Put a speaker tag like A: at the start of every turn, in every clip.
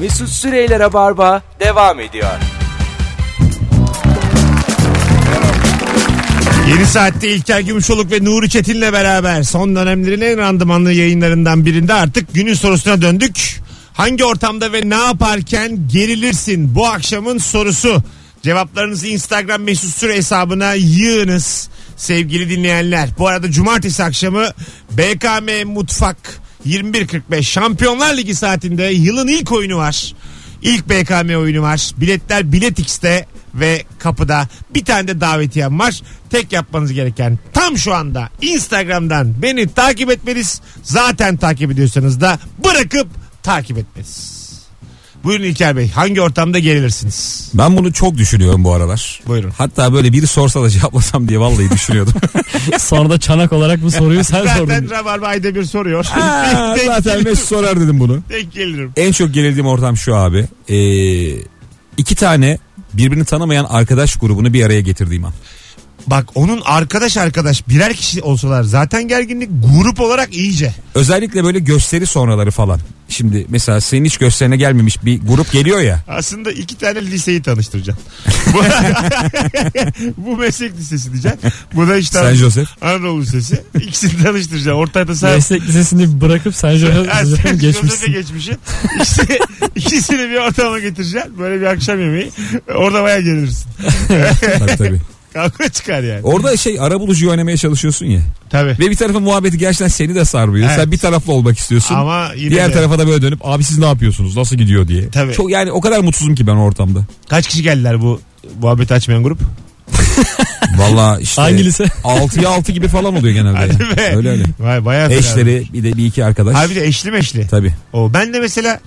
A: Mesut Süreyler'e barba devam ediyor.
B: Yeni saatte İlker Gümüşoluk ve Nuri Çetin'le beraber son dönemlerin en randımanlı yayınlarından birinde artık günün sorusuna döndük. Hangi ortamda ve ne yaparken gerilirsin bu akşamın sorusu. Cevaplarınızı Instagram mesut süre hesabına yığınız sevgili dinleyenler. Bu arada cumartesi akşamı BKM Mutfak 21.45 Şampiyonlar Ligi saatinde yılın ilk oyunu var. İlk BKM oyunu var. Biletler Bilet X'te ve kapıda bir tane de davetiyem var. Tek yapmanız gereken tam şu anda Instagram'dan beni takip etmeniz. Zaten takip ediyorsanız da bırakıp takip etmeniz. Buyurun İlker Bey hangi ortamda gerilirsiniz?
C: Ben bunu çok düşünüyorum bu aralar.
B: Buyurun.
C: Hatta böyle biri sorsa da cevaplasam diye vallahi düşünüyordum.
D: Sonra da çanak olarak bu soruyu sen sordun.
B: Zaten Rabarba ayda bir soruyor.
C: Aa,
B: Denk
C: zaten Mesut sorar dedim bunu.
B: Denk gelirim.
C: En çok gerildiğim ortam şu abi. Ee, iki tane birbirini tanımayan arkadaş grubunu bir araya getirdiğim an.
B: Bak onun arkadaş arkadaş birer kişi olsalar zaten gerginlik grup olarak iyice.
C: Özellikle böyle gösteri sonraları falan. Şimdi mesela senin hiç gösterine gelmemiş bir grup geliyor ya.
B: Aslında iki tane liseyi tanıştıracağım. Bu, bu meslek lisesi diyeceğim. Bu da işte
C: Sen Joseph.
B: Anadolu Lisesi. İkisini tanıştıracağım. Ortada sağ
D: Meslek lisesini bırakıp sen
B: Ha, sen
D: Joseph'in
B: Joseph'e
D: geçmişsin.
B: geçmişi. İkisi, ikisini bir ortama getireceksin. Böyle bir akşam yemeği. Orada baya gelirsin.
C: Tabii tabii.
B: Kavga çıkar yani.
C: Orada şey ara bulucu oynamaya çalışıyorsun ya.
B: Tabii.
C: Ve bir tarafın muhabbeti gerçekten seni de sarmıyor.
B: Evet.
C: Sen bir taraflı olmak istiyorsun.
B: Ama yine
C: Diğer
B: de-
C: tarafa da böyle dönüp abi siz ne yapıyorsunuz nasıl gidiyor diye.
B: Tabii.
C: Çok yani o kadar mutsuzum ki ben o ortamda.
B: Kaç kişi geldiler bu muhabbeti açmayan grup?
C: Valla işte
D: Hangi lise?
C: 6'ya 6 gibi falan oluyor genelde.
B: Hadi be.
C: Öyle öyle.
B: Vay bayağı
C: Eşleri bir de bir iki arkadaş.
B: Abi de eşli meşli.
C: Tabii.
B: O ben de mesela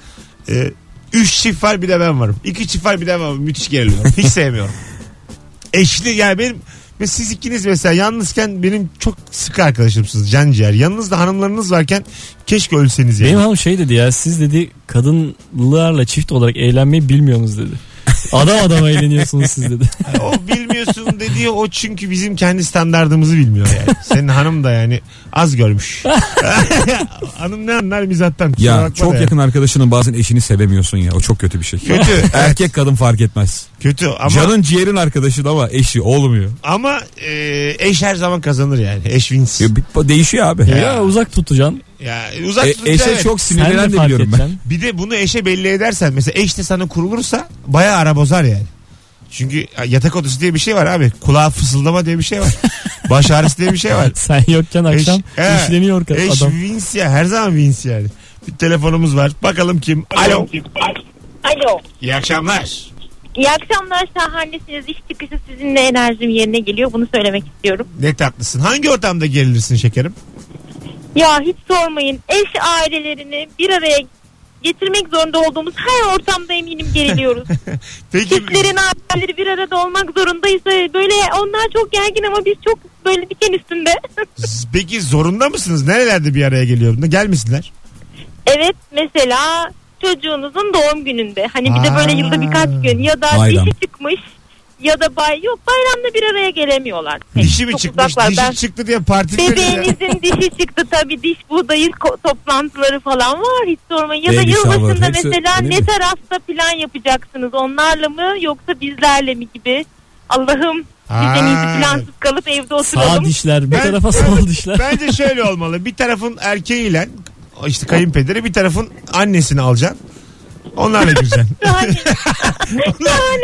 B: e, üç çift var bir de ben varım. İki çift var bir de ben varım. Müthiş geriliyorum. Hiç sevmiyorum. Eşli yani benim ve siz ikiniz mesela yalnızken benim çok sık arkadaşımsınız can ciğer. Yanınızda hanımlarınız varken keşke ölseniz yani.
D: Benim hanım şey dedi ya siz dedi kadınlarla çift olarak eğlenmeyi bilmiyorsunuz dedi. Adam adama eğleniyorsunuz siz dedi.
B: o bilmiyorsun dediği o çünkü bizim kendi standartımızı bilmiyor yani. Senin hanım da yani az görmüş. hanım ne anlar mizattan. kusura
C: Ya
B: bakma
C: çok
B: da yani.
C: yakın arkadaşının bazen eşini sevemiyorsun ya. O çok kötü bir şey.
B: Kötü.
C: Erkek kadın fark etmez.
B: Kötü ama
C: Canın ciğerin arkadaşı da ama eşi olmuyor.
B: ama e, eş her zaman kazanır yani. Eş wins.
C: Ya bir- Değişiyor abi.
B: Ya.
D: ya uzak tutacaksın.
B: Ya uzak
C: E,
B: tutunca
C: eşe
B: evet.
C: çok
D: Sen de
C: sinirlenen de
D: fark
C: biliyorum ben.
D: edeceksin.
B: Bir de bunu eşe belli edersen mesela eş de sana kurulursa bayağı ara bozar yani. Çünkü yatak odası diye bir şey var abi. Kulağa fısıldama diye bir şey var. Baş ağrısı diye bir şey var.
D: Sen yokken
B: Eş-
D: akşam
B: He.
D: işleniyor
B: Eş
D: adam.
B: Vince ya her zaman Vince yani. Bir telefonumuz var. Bakalım kim? Alo.
E: Alo.
B: İyi akşamlar.
E: İyi akşamlar şahanesiniz. İş çıkışı sizinle enerjim yerine geliyor. Bunu söylemek istiyorum.
B: Ne tatlısın. Hangi ortamda gerilirsin şekerim?
E: Ya hiç sormayın. Eş ailelerini bir araya getirmek zorunda olduğumuz her ortamda eminim geriliyoruz.
B: Peki
E: Çiftlerin aileleri bir arada olmak zorundaysa böyle onlar çok gergin ama biz çok böyle diken üstünde.
B: z- peki zorunda mısınız? Nerelerde bir araya geliyor? Gelmesinler.
E: evet mesela çocuğunuzun doğum gününde. Hani bir de
B: Aa.
E: böyle yılda birkaç gün ya da
C: Bayram.
E: dişi çıkmış ya da bay yok bayramda bir araya gelemiyorlar.
B: Dişi mi
E: Çok
B: çıkmış?
E: uzaklar.
B: Dişi
E: Ben-
B: çıktı diye parti veriyor.
E: Bebeğinizin dişi çıktı tabii diş buğdayı ko- toplantıları falan var hiç sormayın. Ya da
C: Baby shower,
E: yılbaşında
C: hepsi
E: mesela
C: öyle
E: ne
C: mi?
E: tarafta plan yapacaksınız onlarla mı yoksa bizlerle mi gibi. Allah'ım bizden
B: Aa.
E: iyisi plansız kalıp evde
D: Sağ
E: oturalım.
D: dişler bir
B: Ben-
D: tarafa sol dişler.
B: Bence şöyle olmalı. Bir tarafın erkeğiyle işte kayınpederi bir tarafın annesini alacaksın. Onlarla gireceksin.
E: Yani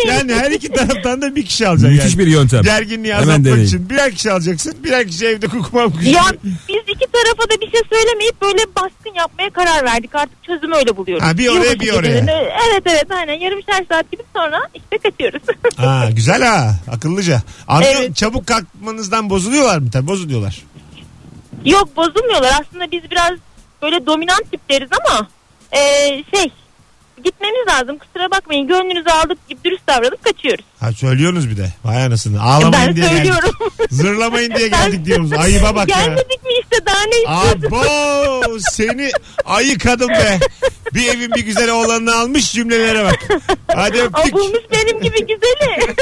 B: yani her iki taraftan da bir kişi alacaksın
C: Müthiş
B: yani.
C: bir yöntem.
B: Gerginliği
C: Hemen
B: azaltmak
C: deneyin.
B: için birer kişi alacaksın. Birer kişi evde kukumam kuşu.
E: ya biz iki tarafa da bir şey söylemeyip böyle baskın yapmaya karar verdik. Artık çözümü öyle buluyoruz.
B: Ha, bir oraya,
E: Yılbaşı
B: bir oraya.
E: gecelerinde- Evet evet aynen yarımşar saat gibi sonra işte kaçıyoruz.
B: Ha, güzel ha. Akıllıca. Anlıyorum.
E: Evet.
B: Çabuk kalkmanızdan bozuluyorlar mı? Tabii bozuluyorlar.
E: Yok bozulmuyorlar. Aslında biz biraz böyle dominant tipleriz ama e, şey gitmemiz lazım. Kusura bakmayın gönlünüzü aldık gibi dürüst davranıp kaçıyoruz.
B: Ha söylüyorsunuz bir de. Vay anasını. Ağlamayın
E: ben
B: diye geldik.
E: söylüyorum.
B: Zırlamayın diye geldik diyoruz. Ayıba bak ya.
E: Gelmedik mi işte daha ne istiyorsun?
B: Abo seni ayı kadın be. Bir evin bir güzel oğlanını almış cümlelere bak. Hadi
E: O
B: öptük.
E: bulmuş benim gibi güzeli.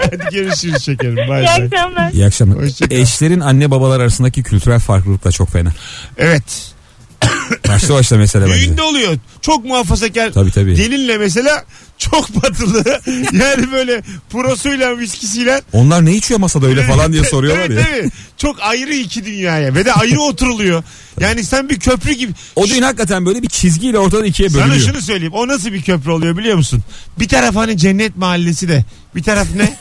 B: Hadi görüşürüz şekerim. Bay
E: İyi
B: bay.
E: akşamlar.
C: İyi akşamlar.
B: Hoşça kal.
C: Eşlerin anne babalar arasındaki kültürel farklılık da çok fena.
B: Evet.
C: Başta başta mesele bence.
B: Düğünde oluyor. Çok muhafazakar.
C: Tabii, tabii.
B: Gelinle mesela çok batılı. yani böyle prosuyla viskisiyle.
C: Onlar ne içiyor masada öyle falan diye soruyorlar
B: evet,
C: ya.
B: Evet. Çok ayrı iki dünyaya ve de ayrı oturuluyor. Yani sen bir köprü gibi.
C: O düğün hakikaten böyle bir çizgiyle ortadan ikiye
B: Sana
C: bölünüyor.
B: şunu söyleyeyim. O nasıl bir köprü oluyor biliyor musun? Bir taraf hani cennet mahallesi de. Bir taraf ne?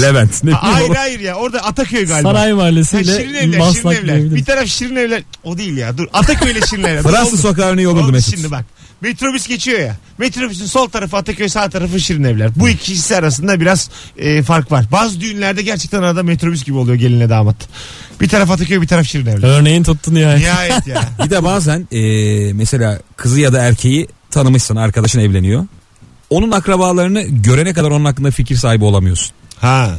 C: Levent ne bileyim
B: hayır
C: oğlum.
B: hayır ya. Orada Ataköy galiba.
D: Saray
B: Ha,
D: Mahallesi
B: şirin evler,
D: ile
B: şirin
D: Maslak
B: evler. Bir
D: diyebilirim.
B: taraf şirin evler. O değil ya. Dur. Ataköy ile şirin evler. Dur,
C: Fransız
B: oldu.
C: sokaklarını yol
B: Oldu
C: buldu Mesut.
B: Şimdi bak. Metrobüs geçiyor ya. Metrobüsün sol tarafı Ataköy sağ tarafı Şirinevler. Bu ikisi arasında biraz e, fark var. Bazı düğünlerde gerçekten arada metrobüs gibi oluyor gelinle damat. Bir taraf Ataköy bir taraf Şirinevler.
D: Örneğin tuttun yani.
B: Nihayet ya.
C: Bir de bazen eee, mesela kızı ya da erkeği tanımışsın arkadaşın evleniyor. Onun akrabalarını görene kadar onun hakkında fikir sahibi olamıyorsun.
B: Ha.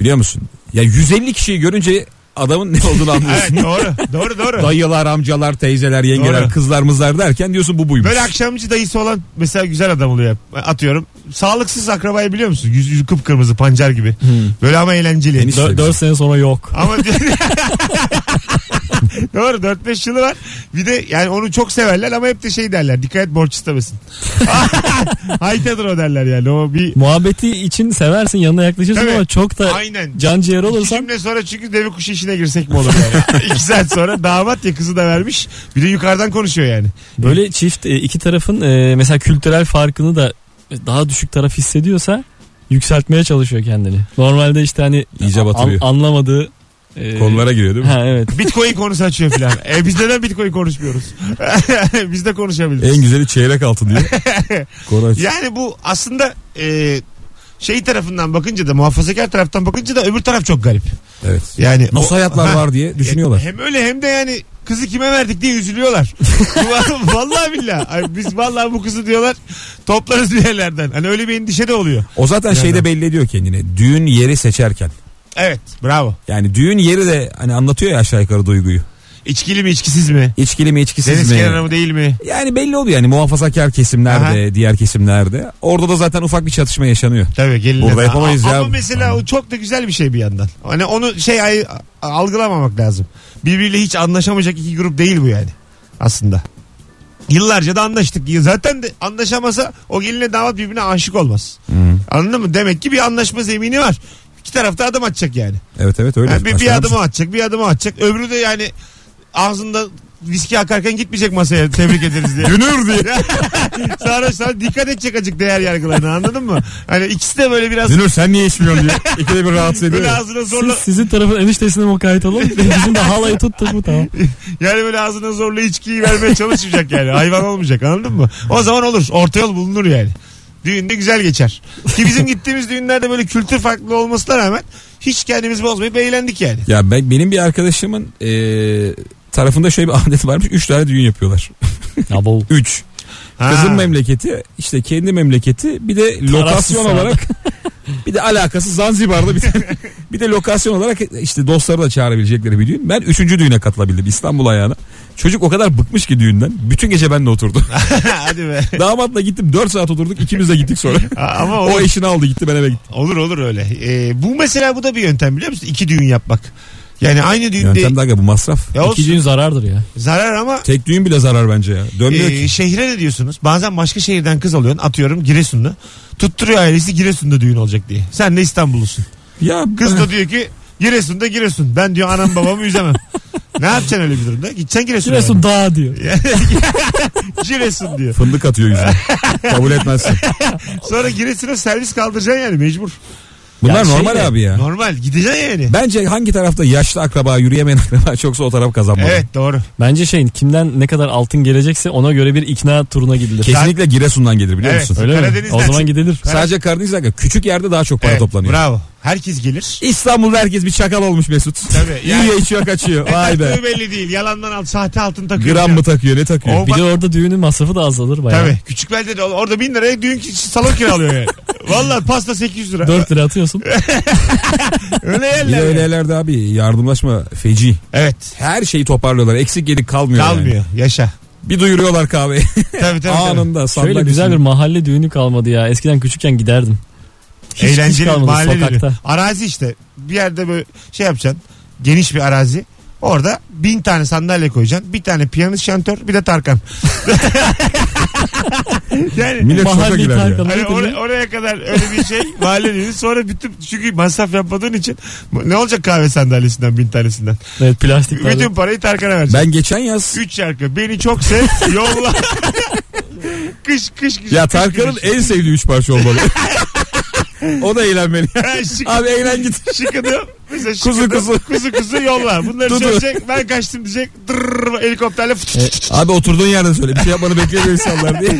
C: Biliyor musun? Ya 150 kişiyi görünce adamın ne olduğunu anlıyorsun.
B: Evet doğru. Doğru doğru.
C: Dayılar, amcalar, teyzeler, yengeler,
B: Doğru.
C: kızlar, mızlar derken diyorsun bu buymuş.
B: Böyle akşamcı dayısı olan mesela güzel adam oluyor. Atıyorum. Sağlıksız akrabayı biliyor musun? Yüz, yüzü kıpkırmızı pancar gibi. Böyle ama eğlenceli.
C: Deniz-
D: Dö- Dört sene sonra yok.
B: Ama Doğru 4-5 yılı var. Bir de yani onu çok severler ama hep de şey derler. Dikkat et borç istemesin. Haytadır o derler yani. O bir
D: Muhabbeti için seversin yanına yaklaşırsın
B: Tabii.
D: ama çok da
B: Aynen.
D: can ciğer
B: İki
D: olursan
B: cümle sonra çünkü deve kuşu işine girsek mi olur yani? İki saat sonra damat ya kızı da vermiş. Bir de yukarıdan konuşuyor yani.
D: böyle çift e, iki tarafın e, mesela kültürel farkını da daha düşük taraf hissediyorsa yükseltmeye çalışıyor kendini. Normalde işte hani
C: İyice
D: an-
C: batırıyor.
D: anlamadığı e,
C: Konulara giriyor değil mi?
D: Ha evet.
B: Bitcoin konusu açıyor filan. E biz neden Bitcoin konuşmuyoruz? biz de konuşabiliriz.
C: En güzeli çeyrek altın diye. Konu aç-
B: Yani bu aslında e, şey tarafından bakınca da muhafazakar taraftan bakınca da öbür taraf çok garip.
C: Evet.
B: Yani
C: Nasıl
B: o- E,
C: hayatlar
B: Ha.
C: var diye düşünüyorlar.
B: Hem öyle hem de yani kızı kime verdik diye üzülüyorlar. vallahi billahi. Ay biz vallahi bu kızı diyorlar toplarız bir yerlerden. Hani öyle bir endişe de oluyor.
C: O zaten şeyde belli ediyor kendini. Düğün yeri seçerken.
B: Evet bravo.
C: Yani düğün yeri de hani anlatıyor ya aşağı yukarı duyguyu.
B: İçkili mi içkisiz mi?
C: İçkili mi içkisiz
B: Deniz
C: mi?
B: kenarı mı değil mi?
C: Yani belli oluyor yani muhafazakar kesimlerde, diğer kesimlerde. Orada da zaten ufak bir çatışma yaşanıyor.
B: Tabii gelin.
C: Burada yapamayız ya.
B: Ama mesela o çok da güzel bir şey bir yandan. Hani onu şey ay- algılamamak lazım. Birbiriyle hiç anlaşamayacak iki grup değil bu yani. Aslında. Yıllarca da anlaştık. Zaten de anlaşamasa o gelinle damat birbirine aşık olmaz. Anladın mı? Demek ki bir anlaşma zemini var. İki tarafta adım atacak yani.
C: Evet evet öyle.
B: Yani bir, bir
C: Başka şey.
B: adım
C: mısın?
B: atacak, bir adım atacak. Öbürü de yani ağzında viski akarken gitmeyecek masaya tebrik ederiz diye.
C: Dünür diye.
B: Sarhoş sarhoş dikkat edecek acık değer yargılarına anladın mı? Hani ikisi de böyle biraz
C: Dünür sen niye içmiyorsun diye. İkide bir rahatsız ediyor.
B: böyle
C: ya.
B: ağzına
D: Siz,
B: zorla
D: sizin tarafın eniştesine mukayyet olun. Bizim de halayı tuttuk mu tamam.
B: yani böyle ağzına zorla içkiyi vermeye çalışmayacak yani. Hayvan olmayacak anladın mı? O zaman olur. Orta yol bulunur yani. Düğünde güzel geçer. Ki bizim gittiğimiz düğünlerde böyle kültür farklı olmasına rağmen hiç kendimizi bozmayıp eğlendik yani.
C: Ya ben, benim bir arkadaşımın eee, tarafında şöyle bir adet varmış. Üç tane düğün yapıyorlar.
D: Abo.
C: Üç.
B: Ha.
C: Kızın memleketi işte kendi memleketi bir de lokasyon
D: sahada.
C: olarak bir de alakası Zanzibar'da bir tane. Bir de lokasyon olarak işte dostları da çağırabilecekleri bir düğün. Ben üçüncü düğüne katılabildim İstanbul ayağına. Çocuk o kadar bıkmış ki düğünden. Bütün gece benle oturdu.
B: Hadi be.
C: Damatla gittim 4 saat oturduk ikimiz de gittik sonra.
B: Ama
C: o
B: olur.
C: eşini aldı gitti ben eve gittim.
B: Olur olur öyle. Ee, bu mesela bu da bir yöntem biliyor musun? İki düğün yapmak. Yani aynı düğünde
C: Yöntem dakika bu masraf.
B: ya olsun,
D: İki gün zarardır ya.
B: zarar ama
C: Tek düğün bile zarar bence ya. Dönmüyor
B: e,
C: ki.
B: şehre ne diyorsunuz? Bazen başka şehirden kız alıyorsun atıyorum Giresunlu. Tutturuyor ailesi Giresun'da düğün olacak diye. Sen de İstanbullusun.
C: Ya
B: Kız da diyor ki Giresun'da Giresun. Ben diyor anam babamı üzemem. ne yapacaksın öyle bir durumda? Gideceksin Giresun'a.
D: Giresun dağı diyor.
B: yani. Giresun diyor.
C: fındık atıyor yüzüne. Kabul etmezsin.
B: Sonra Giresun'a servis kaldıracaksın yani mecbur.
C: Bunlar
D: Ya şey
C: normal
D: de-
C: abi ya.
B: Normal gideceksin yani.
C: Bence hangi tarafta yaşlı akraba yürüyemeyen akraba çoksa o taraf kazanmalı.
B: Evet doğru.
D: Bence şeyin kimden ne kadar altın gelecekse ona göre bir ikna turuna gidilir.
C: Kesinlikle Giresun'dan gelir biliyor
B: Evet.
C: musun?
D: Öyle mi?
B: Karadeniz'den
D: O zaman
B: çık-
D: gidilir.
C: Sadece Karadeniz dakika küçük yerde daha çok para
B: Evet,
C: toplanıyor.
B: Bravo. Herkes gelir.
C: İstanbul'da herkes bir çakal olmuş Mesut.
B: Tabii, yani-
C: Yiyor içiyor kaçıyor. Vay be.
B: Taktığı belli değil. Yalandan al. Sahte altın takıyor.
C: Gram mı takıyor ne takıyor?
B: O
D: Bir de orada düğünün masrafı da azalır bayağı.
B: Tabii. Küçük belde de orada bin liraya düğün ki- salon kiralıyor yani. Valla pasta 800 lira.
D: 4 lira atıyorsun.
B: Öyle
C: Bir
B: yerler.
C: de
B: yani.
C: öyle yerlerde abi yardımlaşma feci.
B: Evet.
C: Her şeyi toparlıyorlar. Eksik yedik kalmıyor. yani.
B: Kalmıyor. Yaşa.
C: Bir duyuruyorlar kahveyi.
B: Tabii tabii. tabii.
C: Anında sandalye.
D: Şöyle güzel bir mahalle düğünü kalmadı ya. Eskiden küçükken giderdim. Hiç, hiç
B: Eğlenceli
D: kalmadı
B: mahalle düğünü.
D: sokakta.
B: Arazi işte. Bir yerde böyle şey yapacaksın. Geniş bir arazi. Orada bin tane sandalye koyacaksın. Bir tane piyanist şantör bir de Tarkan. yani
C: Millet şoka
D: Mahalli
C: girer ya.
D: Tarkan.
B: Hani oraya, oraya kadar öyle bir şey mahalle düğünü. Sonra bütün çünkü masraf yapmadığın için ne olacak kahve sandalyesinden bin tanesinden.
D: Evet plastik.
B: Bütün parayı Tarkan'a vereceksin.
C: Ben geçen yaz
B: 3 şarkı beni çok sev yolla. kış kış kış.
C: ya
B: kış,
C: Tarkan'ın
B: kış.
C: en sevdiği 3 parça olmalı. o da eğlenmeli.
B: Ha, şık-
C: Abi eğlen git.
B: Şıkını mesela
C: Kuzu
B: şıkını, kuzu
C: kuzu.
B: kuzu yolla. Bunları
C: Dudu.
B: söyleyecek ben kaçtım diyecek. Dırr, helikopterle fıç-
D: E,
C: Abi oturduğun yerden söyle. Bir şey yapmanı bekliyor insanlar diye.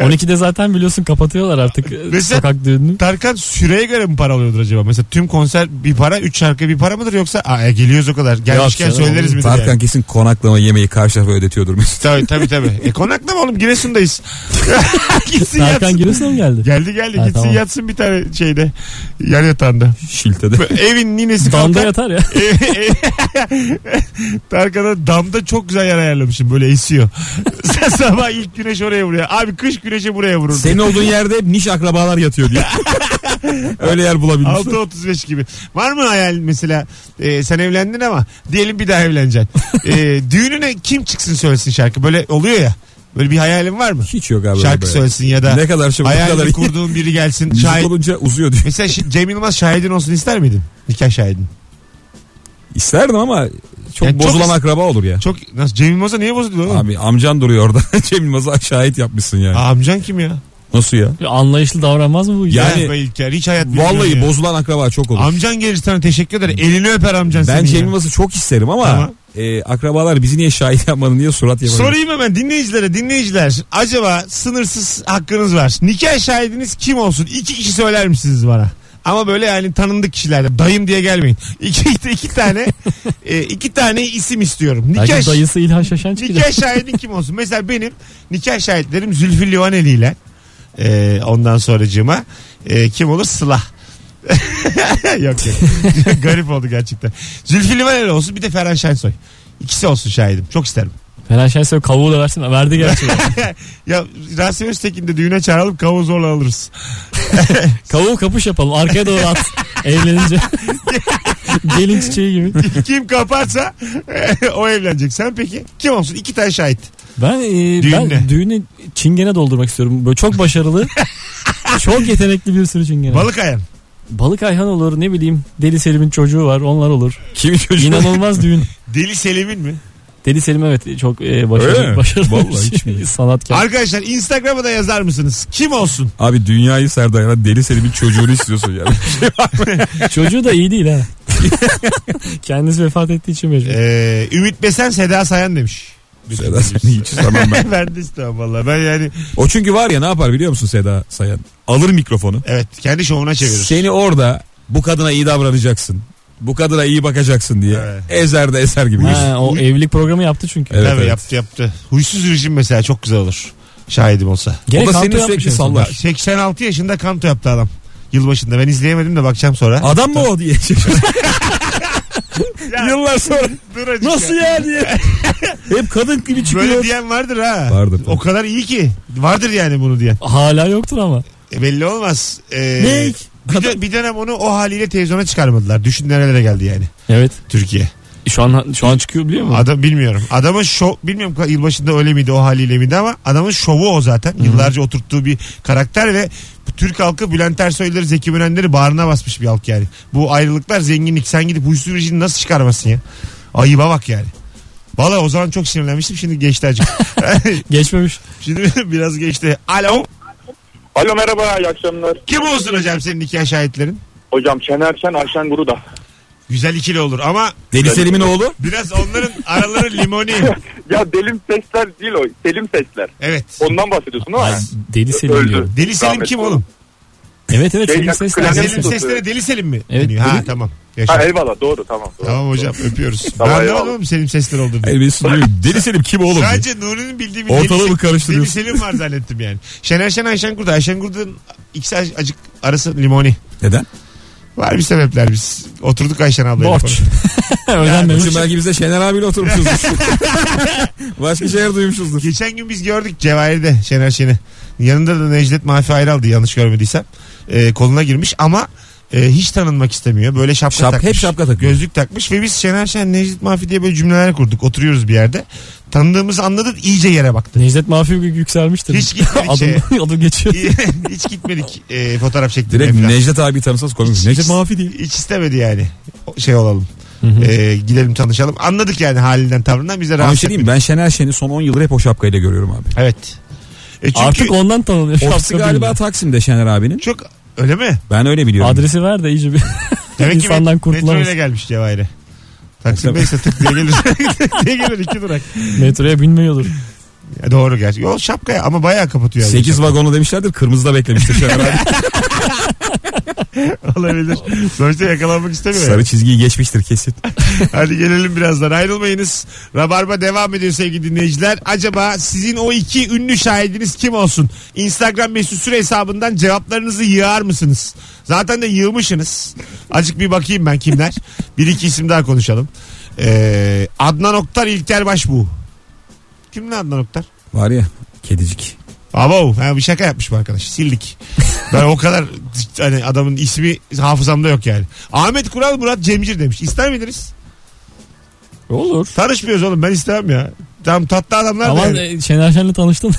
D: 12'de zaten biliyorsun kapatıyorlar artık e,
B: Mesela-
D: sokak düğününü.
B: Tarkan süreye göre mi para alıyordur acaba? Mesela tüm konser bir para, 3 şarkı bir para mıdır yoksa aa, e, geliyoruz o kadar. Gelmişken
D: canım,
B: söyleriz mi?
C: Tarkan kesin konaklama yemeği karşı tarafa ödetiyordur.
B: Tabii tabii tabii. E konaklama oğlum Giresun'dayız. gitsin
D: Tarkan
B: yatsın.
D: Giresun'a mı geldi?
B: Geldi geldi
D: Ha,
B: gitsin
D: tamam.
B: yatsın bir tane şeyde. Yer yatağında.
C: Şiltede.
B: Evin ninesi
D: Damda
B: kalkar.
D: yatar ya.
B: Tarkan'a damda çok güzel yer ayarlamışım böyle esiyor. Sabah ilk güneş oraya vuruyor. Abi kış güneşi buraya vurur.
C: Senin olduğun yerde hep niş akrabalar yatıyor diye. Öyle yer bulabilmişsin.
B: 6.35 gibi. Var mı hayal mesela e, sen evlendin ama diyelim bir daha evleneceksin. E, düğününe kim çıksın söylesin şarkı? Böyle oluyor ya. Böyle bir hayalin var mı?
C: Hiç yok abi. öyle
B: şarkı
C: böyle.
B: söylesin ya da
C: Ne kadar şey bu kadar.
B: hayalini kurduğun biri gelsin.
C: Müzik
B: Şahit.
C: olunca uzuyor diyor.
B: Mesela Ş- Cem Yılmaz şahidin olsun ister miydin? Nikah şahidin.
C: İsterdim ama çok
B: Yani çok
C: bozulan
B: is-
C: akraba olur ya.
B: Çok nasıl Cem Yılmaz'a niye bozuldu oğlum?
C: Abi amcan duruyor orada. Cem Yılmaz'a şahit yapmışsın yani.
B: Aa, Amcan kim ya?
C: Nasıl ya?
D: Anlayışlı davranmaz mı bu iş?
C: Ya-
B: Yani
C: Yani-
B: İlker hiç hayat bilmiyor
C: Vallahi
B: ya.
C: bozulan akraba çok olur.
B: Amcan gelir sana teşekkür eder. Elini öper amcan
C: ben
B: senin
C: Cem
B: ya.
C: Yılmaz'ı çok isterim ama
B: Tamam.
C: e, akrabalar bizi niye şahit yapmadın niye surat yapmadın?
B: Sorayım hemen dinleyicilere dinleyiciler acaba sınırsız hakkınız var. Nikah şahidiniz kim olsun? İki kişi söyler misiniz bana? Ama böyle yani tanındık kişilerde dayım diye gelmeyin. İki, iki, iki tane e, iki tane isim istiyorum. Nikah,
D: Belki dayısı İlhan Şaşan çıkacak.
B: nikah şahidin kim olsun? Mesela benim nikah şahitlerim Zülfü Livaneli ile e, ondan sonracığıma e, kim olur? Sıla. yok yok. Garip oldu gerçekten. Zülfü Livaneli olsun bir de Ferhan Şensoy. İkisi olsun şahidim. Çok isterim.
D: Ferhan Şensoy şey kavuğu da versin. Verdi gerçi.
B: Ya Rasim Öztekin de düğüne çağıralım kavuğu zorla alırız.
D: Kavuğu kapış yapalım. Arkaya doğru at. Evlenince. Gelin çiçeği gibi.
B: Kim kaparsa o evlenecek. Sen peki kim olsun? İki tane şahit.
D: Ben, e,
B: Düğünle.
D: ben düğünü çingene doldurmak istiyorum. Böyle çok başarılı. çok yetenekli bir sürü çingene.
B: Balık ayan.
D: Balık Ayhan olur ne bileyim. Deli Selim'in çocuğu var onlar olur.
C: Kim çocuğu?
D: İnanılmaz düğün.
B: Deli Selim'in mi?
D: Deli Selim evet çok e,
C: Öyle mi?
D: başarılı, başarılı
C: Vallahi
D: bir
C: hiç
D: şey.
C: mi?
D: sanatkar.
B: Arkadaşlar Instagram'a da yazar mısınız? Kim olsun?
C: Abi dünyayı Serdar'a deli senin bir çocuğunu istiyorsun yani.
D: Çocuğu da iyi değil ha. Kendisi vefat ettiği için mecbur.
C: E,
B: Ee, Ümit Besen Seda Sayan demiş.
C: Seda seni hiç istemem ben.
B: ben de istemem valla. Ben yani
C: O çünkü var ya ne yapar biliyor musun Seda Sayan? Alır mikrofonu.
B: evet kendi şovuna çevirir.
C: Seni orada bu kadına iyi davranacaksın. Bu kadına iyi bakacaksın diye.
B: Evet.
C: Ezer de eser gibi.
D: Ha, o evlilik programı yaptı çünkü.
C: Evet,
B: Tabii
C: evet.
B: yaptı yaptı. Huysuz rejim mesela çok güzel olur. Şahidim olsa.
D: Gene
C: O da
D: kanto
C: seni
D: yapmış
C: sürekli
D: en son.
C: sallar.
B: 86 yaşında kanto yaptı adam. Yılbaşında ben izleyemedim de bakacağım sonra.
C: Adam mı o diye.
B: Ya,
C: Yıllar sonra.
B: dur azıcık ya.
C: Nasıl ya diye. Hep kadın gibi çıkıyor.
B: Böyle diyen vardır ha.
C: Vardır.
B: O kadar iyi ki. Vardır yani bunu diyen.
D: Hala yoktur ama.
B: E, belli olmaz. Ee,
C: Ne?
B: Bir, dö- bir dönem onu o haliyle televizyona çıkarmadılar. Düşün nerelere geldi yani
D: Evet.
B: Türkiye.
D: Şu an şu an çıkıyor biliyor musun?
B: Adam bilmiyorum. Adamın şov bilmiyorum yılbaşında öyle miydi o haliyle miydi ama adamın şovu o zaten. Yıllarca oturttuğu bir karakter ve bu Türk halkı Bülent Ersoy'ları, Zeki Mürenleri bağrına basmış bir halk yani. Bu ayrılıklar zenginlik. Sen gidip huysuz rejini nasıl çıkarmasın ya? Ayıba bak yani. Valla o zaman çok sinirlenmiştim. Şimdi geçti acık.
D: Geçmemiş.
B: Şimdi biraz geçti. Alo.
F: Alo merhaba iyi akşamlar.
B: Kim olsun hocam senin nikah şahitlerin?
F: Hocam Şener Şen Ayşen Guruda.
B: Güzel ikili olur ama
C: Deli Selim'in oğlu.
B: biraz onların araları limoni.
F: Ya delim sesler değil o. Selim sesler.
B: Evet.
F: Ondan bahsediyorsun değil
D: Ay,
F: mi?
D: deli Selim
F: Öldü.
D: diyorum.
B: Deli Selim
F: Rahmetli
B: kim
F: oldu.
B: oğlum?
D: Evet evet
F: Şey,
D: Selim
F: ya,
D: Sesler.
F: klavye
D: Selim
B: Selim
F: Rahmetli
D: Sesler.
F: oldu.
B: sesleri Deli Selim mi?
D: Evet,
B: deniyor? Ha
D: deli-
B: tamam. Yaşa.
F: Ha, eyvallah doğru tamam. doğru.
B: Tamam hocam öpüyoruz.
F: Tamam,
B: ben anlamadım
F: eyvallah.
B: oğlum Selim sesleri oldu diye.
C: Hayır, beni sunuyor. Deli Selim kim oğlum? diye.
B: Sadece Nuri'nin bildiği bir
C: Ortalığı
B: Deli-
C: mı karıştırıyorsun?
B: Deli Selim var zannettim yani. Şener Şen Ayşen Kurda. Ayşen Kurda'nın ikisi ac- acık arası limoni.
C: Neden?
B: Var bir sebepler biz. Oturduk Ayşen ablayla.
D: Borç.
B: konuştuk.
D: Öğrenmemiş.
C: Çünkü belki biz de Şener abiyle oturmuşuzdur. Başka şeyler duymuşuzdur.
B: Geçen gün biz gördük Cevahir'de Şener Şen'i. Yanında da Necdet Mafi Ayral'dı yanlış görmediysem. Ee, koluna girmiş ama e, e, hiç tanınmak istemiyor. Böyle şapka
C: Şap-
B: takmış.
C: hep şapka takıyor.
B: Gözlük takmış ve biz Şener Şen, Necdet Mafi diye böyle cümleler kurduk. Oturuyoruz bir yerde. Tanıdığımız anladık iyice yere baktı.
D: Necdet Mafi yükselmiştir.
B: Hiç gitmedik şeye.
D: adım, adım geçiyor.
B: hiç gitmedik e, fotoğraf çektirmeye
C: Direkt
B: falan.
C: Necdet abi tanısanız komik. Necdet Mafi değil.
B: Hiç istemedi yani. O- Şey olalım. E, gidelim tanışalım. Anladık yani halinden tavrından bize
C: Ama bir
B: rahatsız
C: şey diyeyim ben Şener Şen'i son 10 yıldır hep o şapkayla görüyorum abi.
B: etmiyor. Evet. E çünkü
D: Artık ondan tanınıyor.
C: Ofisi
D: Şapka
C: galiba
D: bilmiyor.
C: Taksim'de Şener abinin.
B: çok öyle mi?
C: Ben öyle biliyorum.
D: Adresi ver de iyice bir
B: Demek ki
D: insandan
B: met- metro
D: kurtulamaz.
B: ile gelmiş Cevahir'e. Taksim Beyse tık diye gelir. Tık diye gelir iki durak.
D: Metroya binmiyordur.
B: Ya doğru gerçi. O şapkaya ama bayağı kapatıyor. yani.
C: 8 vagonu demişlerdir kırmızıda beklemiştir Şener abi.
B: Olabilir. Sonuçta yakalanmak istemiyor.
C: Sarı çizgiyi geçmiştir kesin.
B: Hadi gelelim birazdan ayrılmayınız. Rabarba devam ediyor sevgili dinleyiciler. Acaba sizin o iki ünlü şahidiniz kim olsun? Instagram mesut süre hesabından cevaplarınızı yığar mısınız? Zaten de yığmışsınız. Azıcık bir bakayım ben kimler. bir iki isim daha konuşalım. Ee, Adnan Oktar İlker Başbuğ. Kim lan Adnan Oktar?
C: Var ya kedicik.
B: Abo ha bir şaka yapmış bu arkadaş. Sildik. Ben o kadar hani adamın ismi hafızamda yok yani. Ahmet Kural Murat Cemcir demiş. İster miydiniz?
D: Olur.
B: Tanışmıyoruz oğlum ben istemem ya. Tam tatlı adamlar ama,
D: Ama
B: yani.
D: e, Şener Şen'le tanıştın.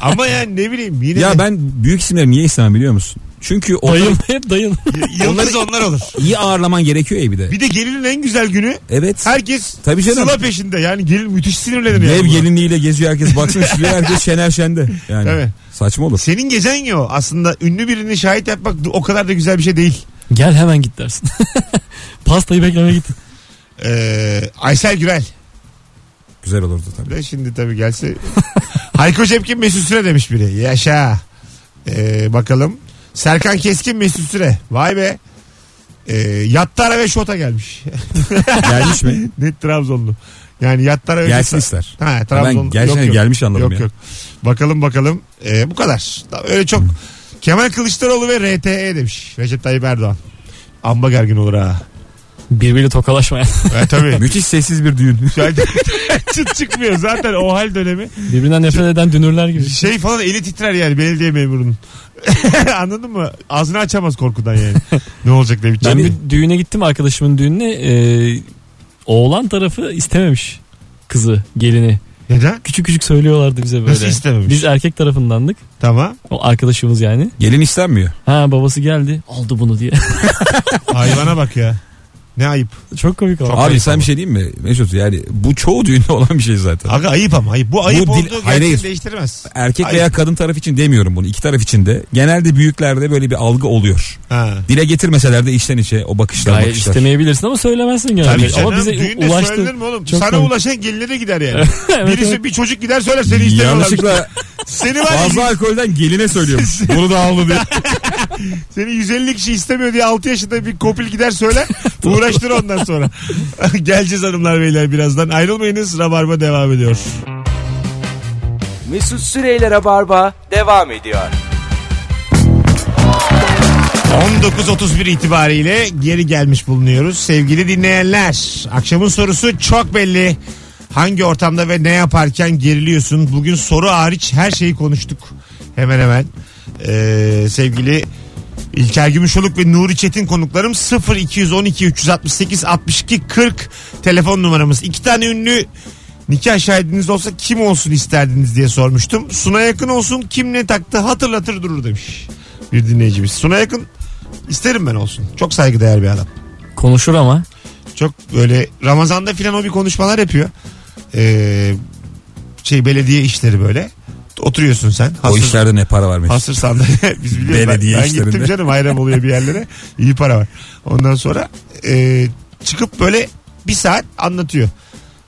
B: ama yani ne bileyim yine
C: Ya
B: de-
C: ben büyük isimleri niye istemem biliyor musun? Çünkü onları
D: dayın hep dayın.
B: y- yıldız onlar olur.
C: iyi ağırlaman gerekiyor ya bir de.
B: Bir şey de gelinin en güzel günü
C: Evet.
B: herkes
C: Tabii canım.
B: sıla peşinde. Yani gelin müthiş sinirlenir.
C: Dev
B: yani.
C: gelinliğiyle geziyor herkes baksın şuraya herkes Şener Şen'de. Yani
B: Tabii.
C: saçma olur.
B: Senin gecen ya o. Aslında ünlü birini şahit yapmak o kadar da güzel bir şey değil.
D: Gel hemen git dersin. Pastayı beklemeye git.
B: Ee, Aysel Gürel.
C: Güzel olurdu tabii.
B: De şimdi tabii gelse. Hayko Cepkin Mesut Süre demiş biri. Yaşa. Ee, bakalım. Serkan Keskin Mesut Süre. Vay be. Ee, Yattara ve Şota gelmiş.
C: Gelmiş mi?
B: Net Trabzonlu. Yani yattara öyle.
C: Gelsin ister.
B: Ha, Trabzon.
C: Ben gelsin- gelmiş anladım
B: yok,
C: ya.
B: Yok. Bakalım bakalım. Ee, bu kadar. Öyle
C: Hmm.
B: çok. Kemal Kılıçdaroğlu ve RTE demiş. Recep Tayyip Erdoğan. Amba gergin olur ha.
D: Birbiriyle tokalaşmayan.
B: E, tabii.
C: Müthiş sessiz bir düğün.
B: Şu an çıt çıkmıyor zaten o hal dönemi.
D: Birbirinden nefret eden dünürler gibi.
B: Şey falan eli titrer yani belediye memurunun. Anladın mı? Ağzını açamaz korkudan yani. ne olacak ne bitecek.
D: Ben bir düğüne gittim arkadaşımın düğününe. Ee, oğlan tarafı istememiş kızı, gelini.
B: Neden?
D: Küçük küçük söylüyorlardı bize böyle.
B: Nasıl istememiş?
D: Biz erkek tarafındandık.
B: Tamam.
D: O arkadaşımız yani.
C: Gelin istenmiyor.
D: Ha babası geldi. Aldı bunu diye.
B: Hayvana bak ya. Ne ayıp.
D: Çok komik oldu.
C: Abi
B: ayıp
C: sen
B: ama.
C: bir şey diyeyim mi Mesut? Yani bu çoğu düğünde olan bir şey zaten.
B: Aga ayıp ama ayıp. Bu ayıp
C: dil-
B: olduğu
C: Hayır,
B: gerçeği
C: hayır.
B: değiştirmez.
C: Erkek
B: Ayıp.
C: veya kadın taraf için demiyorum bunu. İki taraf için de. Genelde büyüklerde böyle bir algı oluyor.
B: Ha.
C: Dile getirmeseler de içten içe o bakışlar
D: Gayet
C: bakışlar.
D: istemeyebilirsin ama söylemezsin genelde.
B: Tabii canım,
D: ama bize
B: düğünde
D: ulaştı.
B: söylenir mi oğlum?
D: Çok
B: Sana
D: komik.
B: ulaşan geline gider yani.
D: Evet,
B: Birisi
D: evet.
B: bir çocuk gider söyler seni istemiyorlar.
C: Yanlışlıkla
B: Seni var ya,
C: fazla alkolden geline söylüyormuş. bunu da aldı diye.
B: seni 150 kişi istemiyor diye 6 yaşında bir kopil gider söyler. uğraştır ondan sonra. Geleceğiz hanımlar beyler birazdan. Ayrılmayınız. Rabarba devam ediyor.
A: Mesut Süreyler'e barba devam ediyor.
B: 19.31 itibariyle geri gelmiş bulunuyoruz. Sevgili dinleyenler akşamın sorusu çok belli. Hangi ortamda ve ne yaparken geriliyorsun? Bugün soru hariç her şeyi konuştuk. Hemen hemen. Ee, sevgili İlker Gümüşoluk ve Nuri Çetin konuklarım 0212 368 62 40 telefon numaramız. İki tane ünlü nikah şahidiniz olsa kim olsun isterdiniz diye sormuştum. Suna yakın olsun kim ne taktı hatırlatır durur demiş bir dinleyicimiz. Suna yakın isterim ben olsun. Çok saygıdeğer bir adam.
D: Konuşur ama.
B: Çok böyle Ramazan'da filan o bir konuşmalar yapıyor. Ee, şey belediye işleri böyle. Oturuyorsun sen.
C: O
B: Hasır-
C: işlerde ne para var Mesut?
B: Hasır sandalye biz biliyoruz. Ben-
C: Belediye
B: ben, gittim
C: işlerinde.
B: canım hayran oluyor bir yerlere. İyi para var. Ondan sonra e, çıkıp böyle bir saat anlatıyor.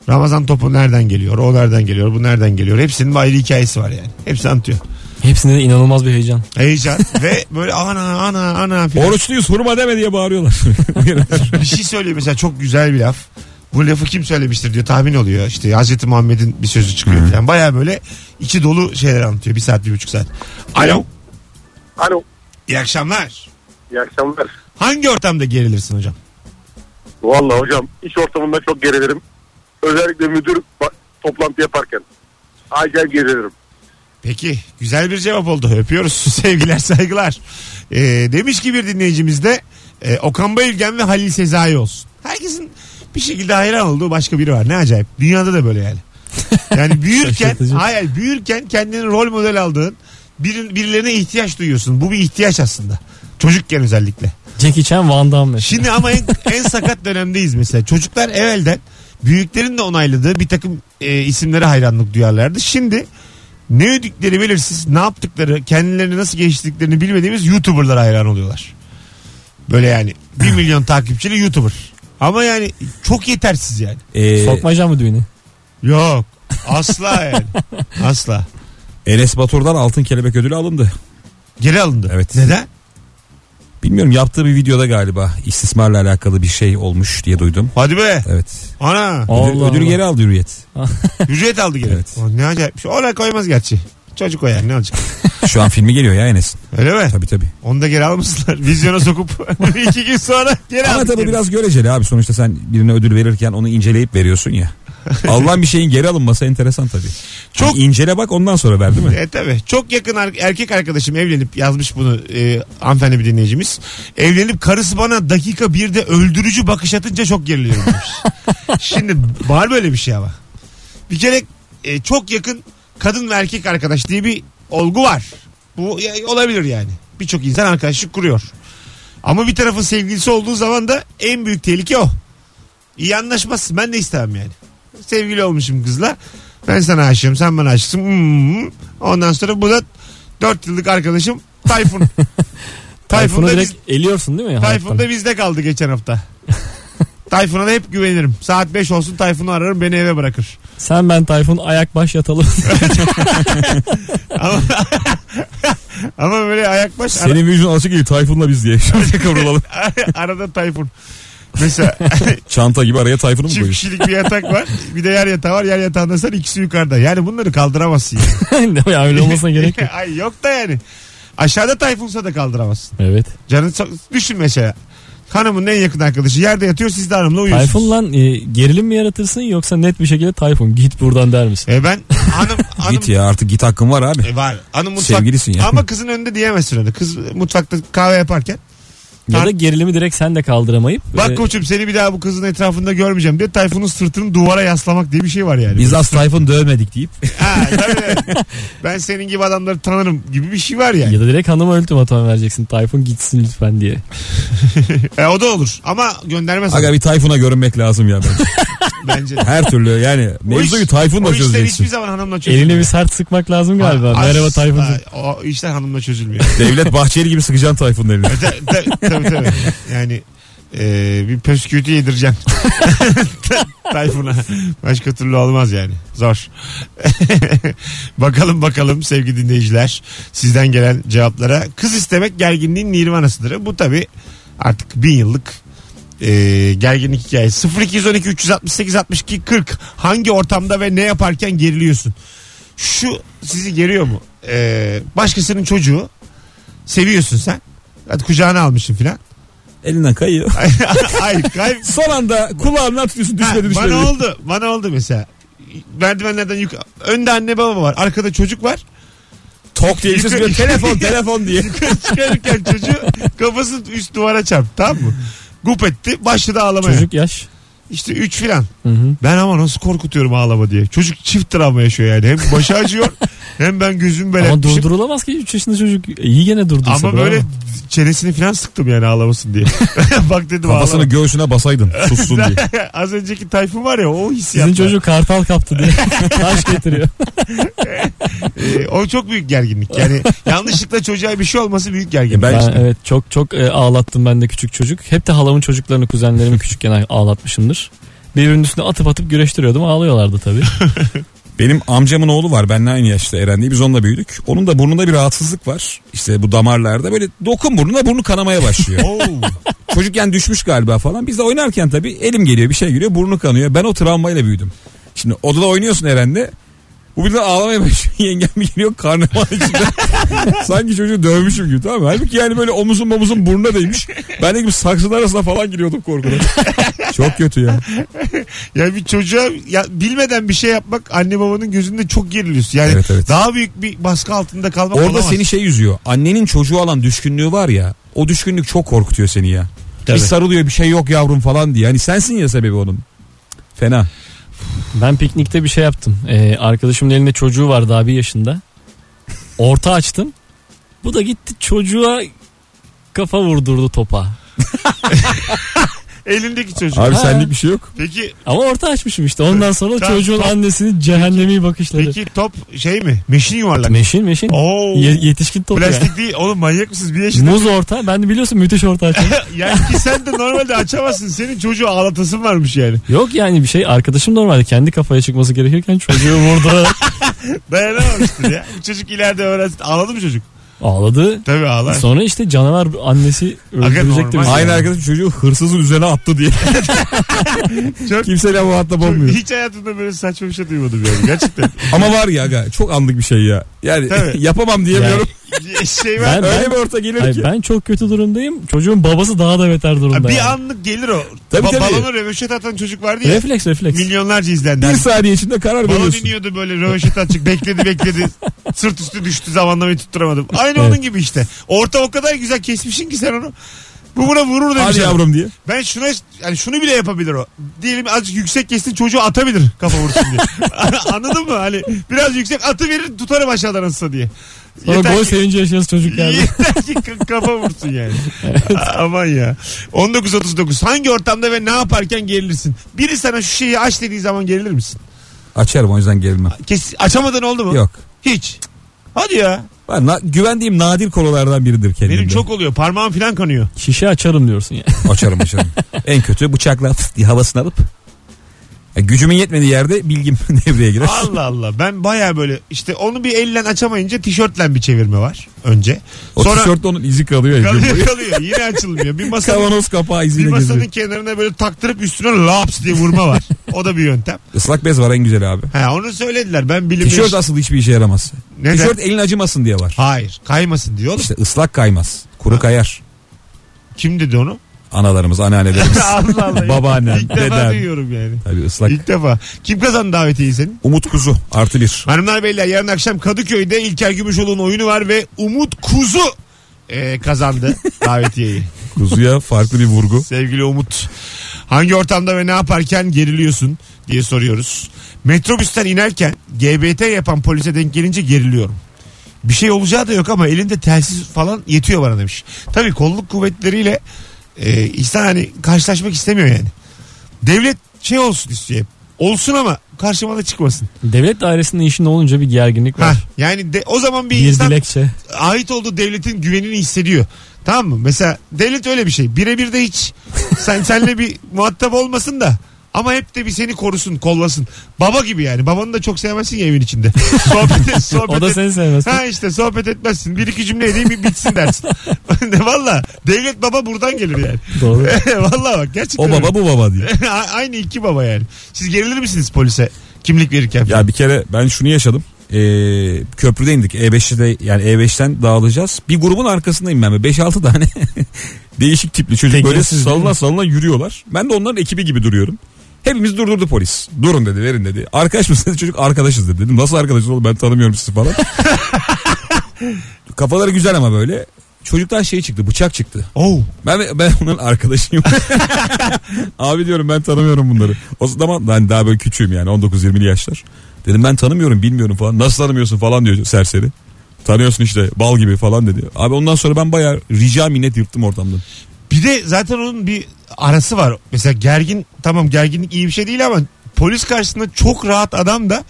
B: Ramazan topu nereden geliyor? O nereden geliyor? Bu nereden geliyor? Hepsinin bir ayrı hikayesi var yani. Hepsi anlatıyor.
D: Hepsinde de inanılmaz bir heyecan.
B: Heyecan ve böyle ana ana ana filan.
C: Oruçluyuz hurma deme diye bağırıyorlar.
B: bir şey söylüyor mesela çok güzel bir laf. Bu lafı kim söylemiştir diyor tahmin oluyor. İşte Hazreti Muhammed'in bir sözü çıkıyor falan. Baya böyle içi dolu şeyler anlatıyor. Bir saat bir buçuk saat. Alo.
F: Alo.
B: iyi akşamlar.
F: İyi akşamlar.
B: Hangi ortamda gerilirsin hocam?
F: Valla hocam iş ortamında çok gerilirim. Özellikle müdür ba- toplantı yaparken. Acayip gerilirim.
B: Peki güzel bir cevap oldu. Öpüyoruz. Sevgiler saygılar. Ee, demiş ki bir dinleyicimiz de Ee, Okan Bayülgen ve Halil Sezai olsun. Herkesin bir şekilde hayran olduğu başka biri var. Ne acayip. Dünyada da böyle yani. Yani büyürken
D: Şaşırtıcı.
B: hayır hayır, büyürken kendini rol model aldığın bir, birilerine ihtiyaç duyuyorsun. Bu bir ihtiyaç aslında. Çocukken özellikle.
D: Jackie Chan Van Damme. mesela.
B: Şimdi ama en, en sakat dönemdeyiz mesela. Çocuklar evvelden büyüklerin de onayladığı bir takım e, isimlere hayranlık duyarlardı. Şimdi ne yedikleri belirsiz, ne yaptıkları, kendilerini nasıl geliştirdiklerini bilmediğimiz YouTuber'lara hayran oluyorlar. Böyle yani 1 milyon takipçili YouTuber. Ama yani çok yetersiz yani.
C: Ee,
D: Sokmayacağım mı düğünü?
B: Yok. Asla yani. Asla.
C: Enes Batur'dan altın kelebek ödülü alındı.
B: Geri alındı.
C: Evet.
B: Neden?
C: Bilmiyorum yaptığı bir videoda galiba istismarla alakalı bir şey olmuş diye duydum.
B: Hadi be.
C: Evet.
B: Ana.
D: Allah
C: Ödül, ödülü
D: Allah.
C: geri aldı Hürriyet.
B: Ücret aldı geri.
C: Evet.
B: O ne acayip bir şey. Ona koymaz gerçi. Çocuk o yani ne olacak?
C: Şu an filmi geliyor ya Enes'in.
B: Öyle mi?
C: Tabii tabii.
B: Onu da geri almışlar. Vizyona sokup iki gün sonra geri
C: Ama
B: aldık.
C: tabii
B: geri.
C: biraz göreceli abi. Sonuçta sen birine ödül verirken onu inceleyip veriyorsun ya. Allah'ın bir şeyin geri alınması enteresan tabii.
B: Çok-
C: Çok incele bak ondan sonra ver değil mi?
B: E tabii. Çok yakın ar- erkek arkadaşım evlenip yazmış bunu e, hanımefendi bir dinleyicimiz. Evlenip karısı bana dakika birde öldürücü bakış atınca çok geriliyorum demiş. Şimdi var böyle bir şey ama. Bir kere e, çok yakın kadın ve erkek arkadaş diye bir olgu var. Bu ya- olabilir yani. Birçok insan arkadaşlık kuruyor. Ama bir tarafın sevgilisi olduğu zaman da en büyük tehlike o. İyi anlaşmazsın. Ben de istemem yani. Sevgili olmuşum kızla. Ben sana aşığım sen bana aşıksın. Hmm. Ondan sonra bu da 4 yıllık arkadaşım Tayfun.
D: Tayfun'u
B: Tayfun'da,
D: direkt
B: biz,
D: eliyorsun değil mi?
B: Tayfun'da bizde kaldı geçen hafta. Tayfun'a da hep güvenirim. Saat 5 olsun Tayfun'u ararım beni eve bırakır.
D: Sen ben Tayfun ayak baş yatalım.
B: Ama, ama böyle ayak baş ara-
C: Senin vücudun alışık değil Tayfun'la biz diye. Şöyle kıvrılalım.
B: arada Tayfun. Mesela
C: Çanta gibi araya Tayfun'u mu
B: çift
C: koyuyorsun?
B: kişilik bir yatak var. Bir de yer yatağı var. Yer yatağında sen ikisi yukarıda. Yani bunları kaldıramazsın. yani.
D: ya öyle olmasına gerek yok.
B: Ay yok da yani. Aşağıda Tayfun'sa da kaldıramazsın.
D: Evet.
B: Canın so- düşün mesela. Hanımın en yakın arkadaşı yerde yatıyor siz de hanımla uyuyorsunuz.
D: Tayfun lan e, gerilim mi yaratırsın yoksa net bir şekilde Tayfun git buradan der misin?
B: E ben hanım hanım
C: Git ya artık git hakkın var abi.
B: E var. Hanım mutfak.
C: Sevgilisin ya.
B: Ama kızın önünde diyemezsin öyle. Kız mutfakta kahve yaparken
D: Ya da gerilimi direkt sen de kaldıramayıp
B: bak
D: e,
B: koçum seni bir daha bu kızın etrafında görmeyeceğim diye Tayfun'un sırtını duvara yaslamak diye bir şey var yani.
C: Biz az Tayfun dövmedik deyip.
B: Ha, tabii. ben senin gibi adamları tanırım gibi bir şey var yani.
D: ya da direkt hanıma ultimatum vereceksin Tayfun gitsin lütfen diye.
B: E, o da olur ama göndermez
C: Aga bir Tayfun'a görünmek lazım ya. bence.
B: bence.
C: Her türlü yani mevzuyu Tayfun'la
B: O işler hiçbir
C: çözeceksin.
B: zaman hanımla
C: şey
B: çözülmüyor.
D: Eline bir sert sıkmak lazım galiba.
B: Asla
D: Merhaba Tayfun.
B: O işler hanımla çözülmüyor.
C: Devlet Bahçeli gibi sıkacaksın Tayfun'un elini.
B: Ta- ta- tabii tabii. Yani e, bir pöskürtü yedireceğim. Tayfun'a. Başka türlü olmaz yani. Zor. bakalım bakalım sevgili dinleyiciler. Sizden gelen cevaplara. Kız istemek gerginliğin nirvanasıdır. Bu tabii artık bin yıllık e, gerginlik hikayesi. 0212 368 62 40 hangi ortamda ve ne yaparken geriliyorsun? Şu sizi geriyor mu? E, başkasının çocuğu seviyorsun sen. Hadi kucağına almışsın filan.
C: Elinden kayıyor.
B: Ay kay
C: Son anda kulağından tutuyorsun
B: Ha,
C: düşmedi düşmedi.
B: bana oldu. Bana oldu mesela. Merdivenlerden yuk önde anne baba var. Arkada çocuk var.
C: Tok diye bir ses geliyor. Telefon telefon diye.
B: Çıkarırken çocuğu kafasını üst duvara çarptı tamam mı? Gup etti. Başladı ağlamaya.
D: Çocuk yaş.
B: İşte 3 filan.
D: Hı hı.
B: Ben ama nasıl korkutuyorum ağlama diye. Çocuk çift travma yaşıyor yani. Hem başı acıyor hem ben gözüm
D: Ama
C: şey-
B: beletmişim. Ama,
D: durdurulamaz ki 3 yaşında çocuk. İyi gene durdursa. bravo.
B: böyle çenesini filan sıktım yani ağlamasın diye. Bak dedim
C: Kafasını
B: ağlama.
C: göğsüne basaydın sussun diye.
B: Az önceki tayfun var ya o hissiyat.
D: Sizin çocuğu kartal kaptı diye. Taş getiriyor.
B: Ee, o çok büyük gerginlik. Yani yanlışlıkla çocuğa bir şey olması büyük gerginlik.
C: E ben-
D: Ben,
C: işte.
D: evet çok çok e, ağlattım ben de küçük çocuk. Hep de halamın çocuklarını kuzenlerimi küçükken ağlatmışımdır. Birbirinin üstüne atıp atıp güreştiriyordum ağlıyorlardı tabii.
C: Benim amcamın oğlu var. Benle aynı yaşta Eren diye. Biz onunla büyüdük. Onun da burnunda bir rahatsızlık var. İşte bu damarlarda böyle dokun burnuna burnu kanamaya başlıyor.
B: Oo.
C: Çocukken düşmüş galiba falan. Biz de oynarken tabii elim geliyor bir şey geliyor burnu kanıyor. Ben o travmayla büyüdüm. Şimdi odada oynuyorsun Eren'le. Bu birden ağlamaya başlıyor. Yengem bir geliyor karnıma içinde. Sanki çocuğu dövmüşüm gibi tamam mı? Halbuki yani böyle omuzun omuzun burnuna değmiş. Ben de gibi saksının arasına falan giriyordum korkudan. Çok kötü ya.
B: yani bir çocuğa ya, bilmeden bir şey yapmak anne babanın gözünde çok geriliyorsun. Yani
C: Evet, evet.
B: daha büyük bir baskı altında kalmak
C: Orada
B: olamaz.
C: seni şey yüzüyor. Annenin çocuğu alan düşkünlüğü var ya. O düşkünlük çok korkutuyor seni ya.
B: Tabii.
C: Bir sarılıyor bir şey yok yavrum falan diye. Yani sensin ya sebebi onun. Fena.
D: Ben piknikte bir şey yaptım. Ee, arkadaşımın elinde çocuğu vardı abi yaşında. Orta açtım. Bu da gitti çocuğa kafa vurdurdu topa.
B: Elindeki çocuk.
C: Abi
D: Ha.
C: senlik bir şey yok.
B: Peki
D: Ama orta açmışım işte. Ondan sonra
B: Tamam,
D: çocuğun
B: top.
D: annesini cehennemi bakışladı.
B: peki top şey mi? Meşin yuvarlak.
D: Meşin meşin.
B: Oo.
D: Ye- yetişkin top ya.
B: Plastik değil. Oğlum manyak mısınız? Bir yaşında.
D: Muz orta. Ben de biliyorsun müthiş orta açtım.
B: yani ki sen de normalde açamazsın. Senin çocuğu ağlatasın varmış yani.
D: Yok yani bir şey. Arkadaşım normalde kendi kafaya çıkması gerekirken çocuğu vurdurarak
B: Dayanamamıştır ya. Bu çocuk ileride öğrensin. Ağladı mı çocuk?
D: ağladı.
B: Tabii ağlar.
D: Sonra işte canavar annesi öldürecekti
B: normal.
D: bizi.
C: Aynı
B: Yani.
C: arkadaşım çocuğu hırsızın üzerine attı diye.
B: Çok-
C: Kimseyle muhatap olmuyor.
B: Hiç hayatımda böyle saçma bir şey duymadım yani. Gerçekten.
C: Ama var ya aga, çok anlık bir şey ya. Yani
B: Tabii.
C: yapamam diyemiyorum.
B: şey var.
D: Ben,
C: Öyle
D: ben,
C: bir orta gelir
D: Ay,
C: ki.
D: ben çok kötü durumdayım. Çocuğun babası daha da beter durumda. yani.
B: bir anlık gelir o.
C: Tabii,
B: Ba-
C: tabii.
B: Balonu röveşet atan çocuk vardı ya.
D: Refleks refleks.
B: Milyonlarca izlendi.
C: Bir saniye içinde karar
B: Balon
C: veriyorsun.
B: iniyordu böyle röveşet atacak. Bekledi bekledi. Sırt üstü düştü zamanlamayı tutturamadım. Aynı
D: Evet.
B: onun gibi işte. Orta o kadar güzel kesmişsin ki sen onu. Bu buna vurur demiş.
C: Hadi
B: adam.
C: yavrum diye.
B: Ben şuna yani şunu bile yapabilir o. Diyelim azıcık yüksek kessin çocuğu atabilir kafa vursun diye. Anladın mı? Hani biraz yüksek atı verir tutarım aşağıdan ısısa diye.
D: Sonra
B: Yeter
D: gol
B: ki-
D: sevinci yaşıyoruz çocuk yani.
B: Yeter ki k- kafa vursun yani. A- Aman ya. 19.39 hangi ortamda ve ne yaparken gerilirsin? Biri sana şu şeyi aç dediği zaman gerilir misin?
C: Açarım o yüzden gerilmem.
B: Kes, açamadın oldu mu?
C: Yok.
B: Hiç. Hadi ya.
C: Ben na- güvendiğim nadir konulardan biridir kendimde.
B: Benim çok oluyor. Parmağım falan kanıyor.
D: Şişe açarım diyorsun ya.
C: Açarım açarım. en kötü bıçakla fıs diye havasını alıp Ya gücümün yetmediği yerde bilgim devreye girer.
B: Allah Allah. Ben baya böyle işte onu bir elle açamayınca tişörtle bir çevirme var önce.
C: o tişörtte onun izi kalıyor. ya.
B: Kalıyor kalıyor. Yine açılmıyor. Bir masanın,
C: Kavanoz kapağı
B: bir
C: iziyle
B: masanın
C: geziyor.
B: kenarına böyle taktırıp üstüne laps diye vurma var. O da bir yöntem.
C: Islak bez var en güzel abi.
B: Ha, onu söylediler. Ben bilim
C: Tişört asıl hiçbir işe yaramaz.
B: Neden?
C: Tişört elin acımasın diye var.
B: Hayır. Kaymasın diyor oğlum.
C: İşte ıslak kaymaz. Kuru kayar.
B: Kim dedi onu?
C: Analarımız, anneannelerimiz.
B: Allah Allah.
C: Babaannem,
B: İlk defa
C: dedem.
B: duyuyorum yani.
C: Tabii ıslak.
B: İlk defa. Kim kazandı davetiyi senin?
C: Umut Kuzu artı bir.
B: Hanımlar beyler yarın akşam Kadıköy'de İlker Gümüşoğlu'nun oyunu var ve Umut Kuzu e, kazandı davetiyeyi.
C: Kuzuya farklı bir vurgu.
B: Sevgili Umut. Hangi ortamda ve ne yaparken geriliyorsun diye soruyoruz. Metrobüsten inerken GBT yapan polise denk gelince geriliyorum. Bir şey olacağı da yok ama elinde telsiz falan yetiyor bana demiş. Tabii kolluk kuvvetleriyle e, insan hani karşılaşmak istemiyor yani. Devlet şey olsun istiyor. hep. Olsun ama karşıma da çıkmasın.
D: Devlet dairesinin işinde olunca bir gerginlik
B: Ha,
D: var.
B: yani de, o zaman bir,
D: bir
B: insan
D: dilekçe.
B: ait olduğu devletin güvenini hissediyor. Tamam mı? Mesela devlet öyle bir şey. Birebir de hiç sen senle bir muhatap olmasın da ama hep de bir seni korusun, kollasın. Baba gibi yani. Babanı da çok sevmezsin ya evin içinde. Sohbet, sohbet
D: O da
B: et-
D: seni sevmez.
B: Ha işte sohbet etmezsin. Bir iki cümle edeyim bir bitsin dersin. Valla devlet baba buradan gelir yani.
D: Doğru.
B: Valla bak gerçekten.
C: O baba bu baba diye.
B: öyle. A- Aynı iki baba yani. Siz gerilir misiniz polise kimlik verirken?
C: Ya bir kere ben şunu yaşadım. Ee, köprüde indik. E5'te yani E5'ten dağılacağız. Bir grubun arkasındayım ben. 5-6 tane değişik tipli çocuk böyle
D: Tekinsiz değil
C: salına
D: mi?
C: salına yürüyorlar. Ben de onların ekibi gibi duruyorum. Hepimiz durdurdu polis. Durun dedi verin dedi. Arkadaş mısınız dedi. Çocuk arkadaşız dedi. Dedim nasıl arkadaşız oğlum ben tanımıyorum sizi falan. Kafaları güzel ama böyle. Çocuktan şey çıktı bıçak çıktı.
B: Oh.
C: Ben ben onların arkadaşıyım. Abi diyorum ben tanımıyorum bunları. O zaman ben daha böyle küçüğüm yani 19-20'li yaşlar. Dedim ben tanımıyorum bilmiyorum falan. Nasıl tanımıyorsun falan diyor serseri. Tanıyorsun işte bal gibi falan dedi. Abi ondan sonra ben bayağı rica minnet yırttım ortamdan.
B: Bir de zaten onun bir arası var. Mesela gergin tamam gerginlik iyi bir şey değil ama polis karşısında çok rahat adam da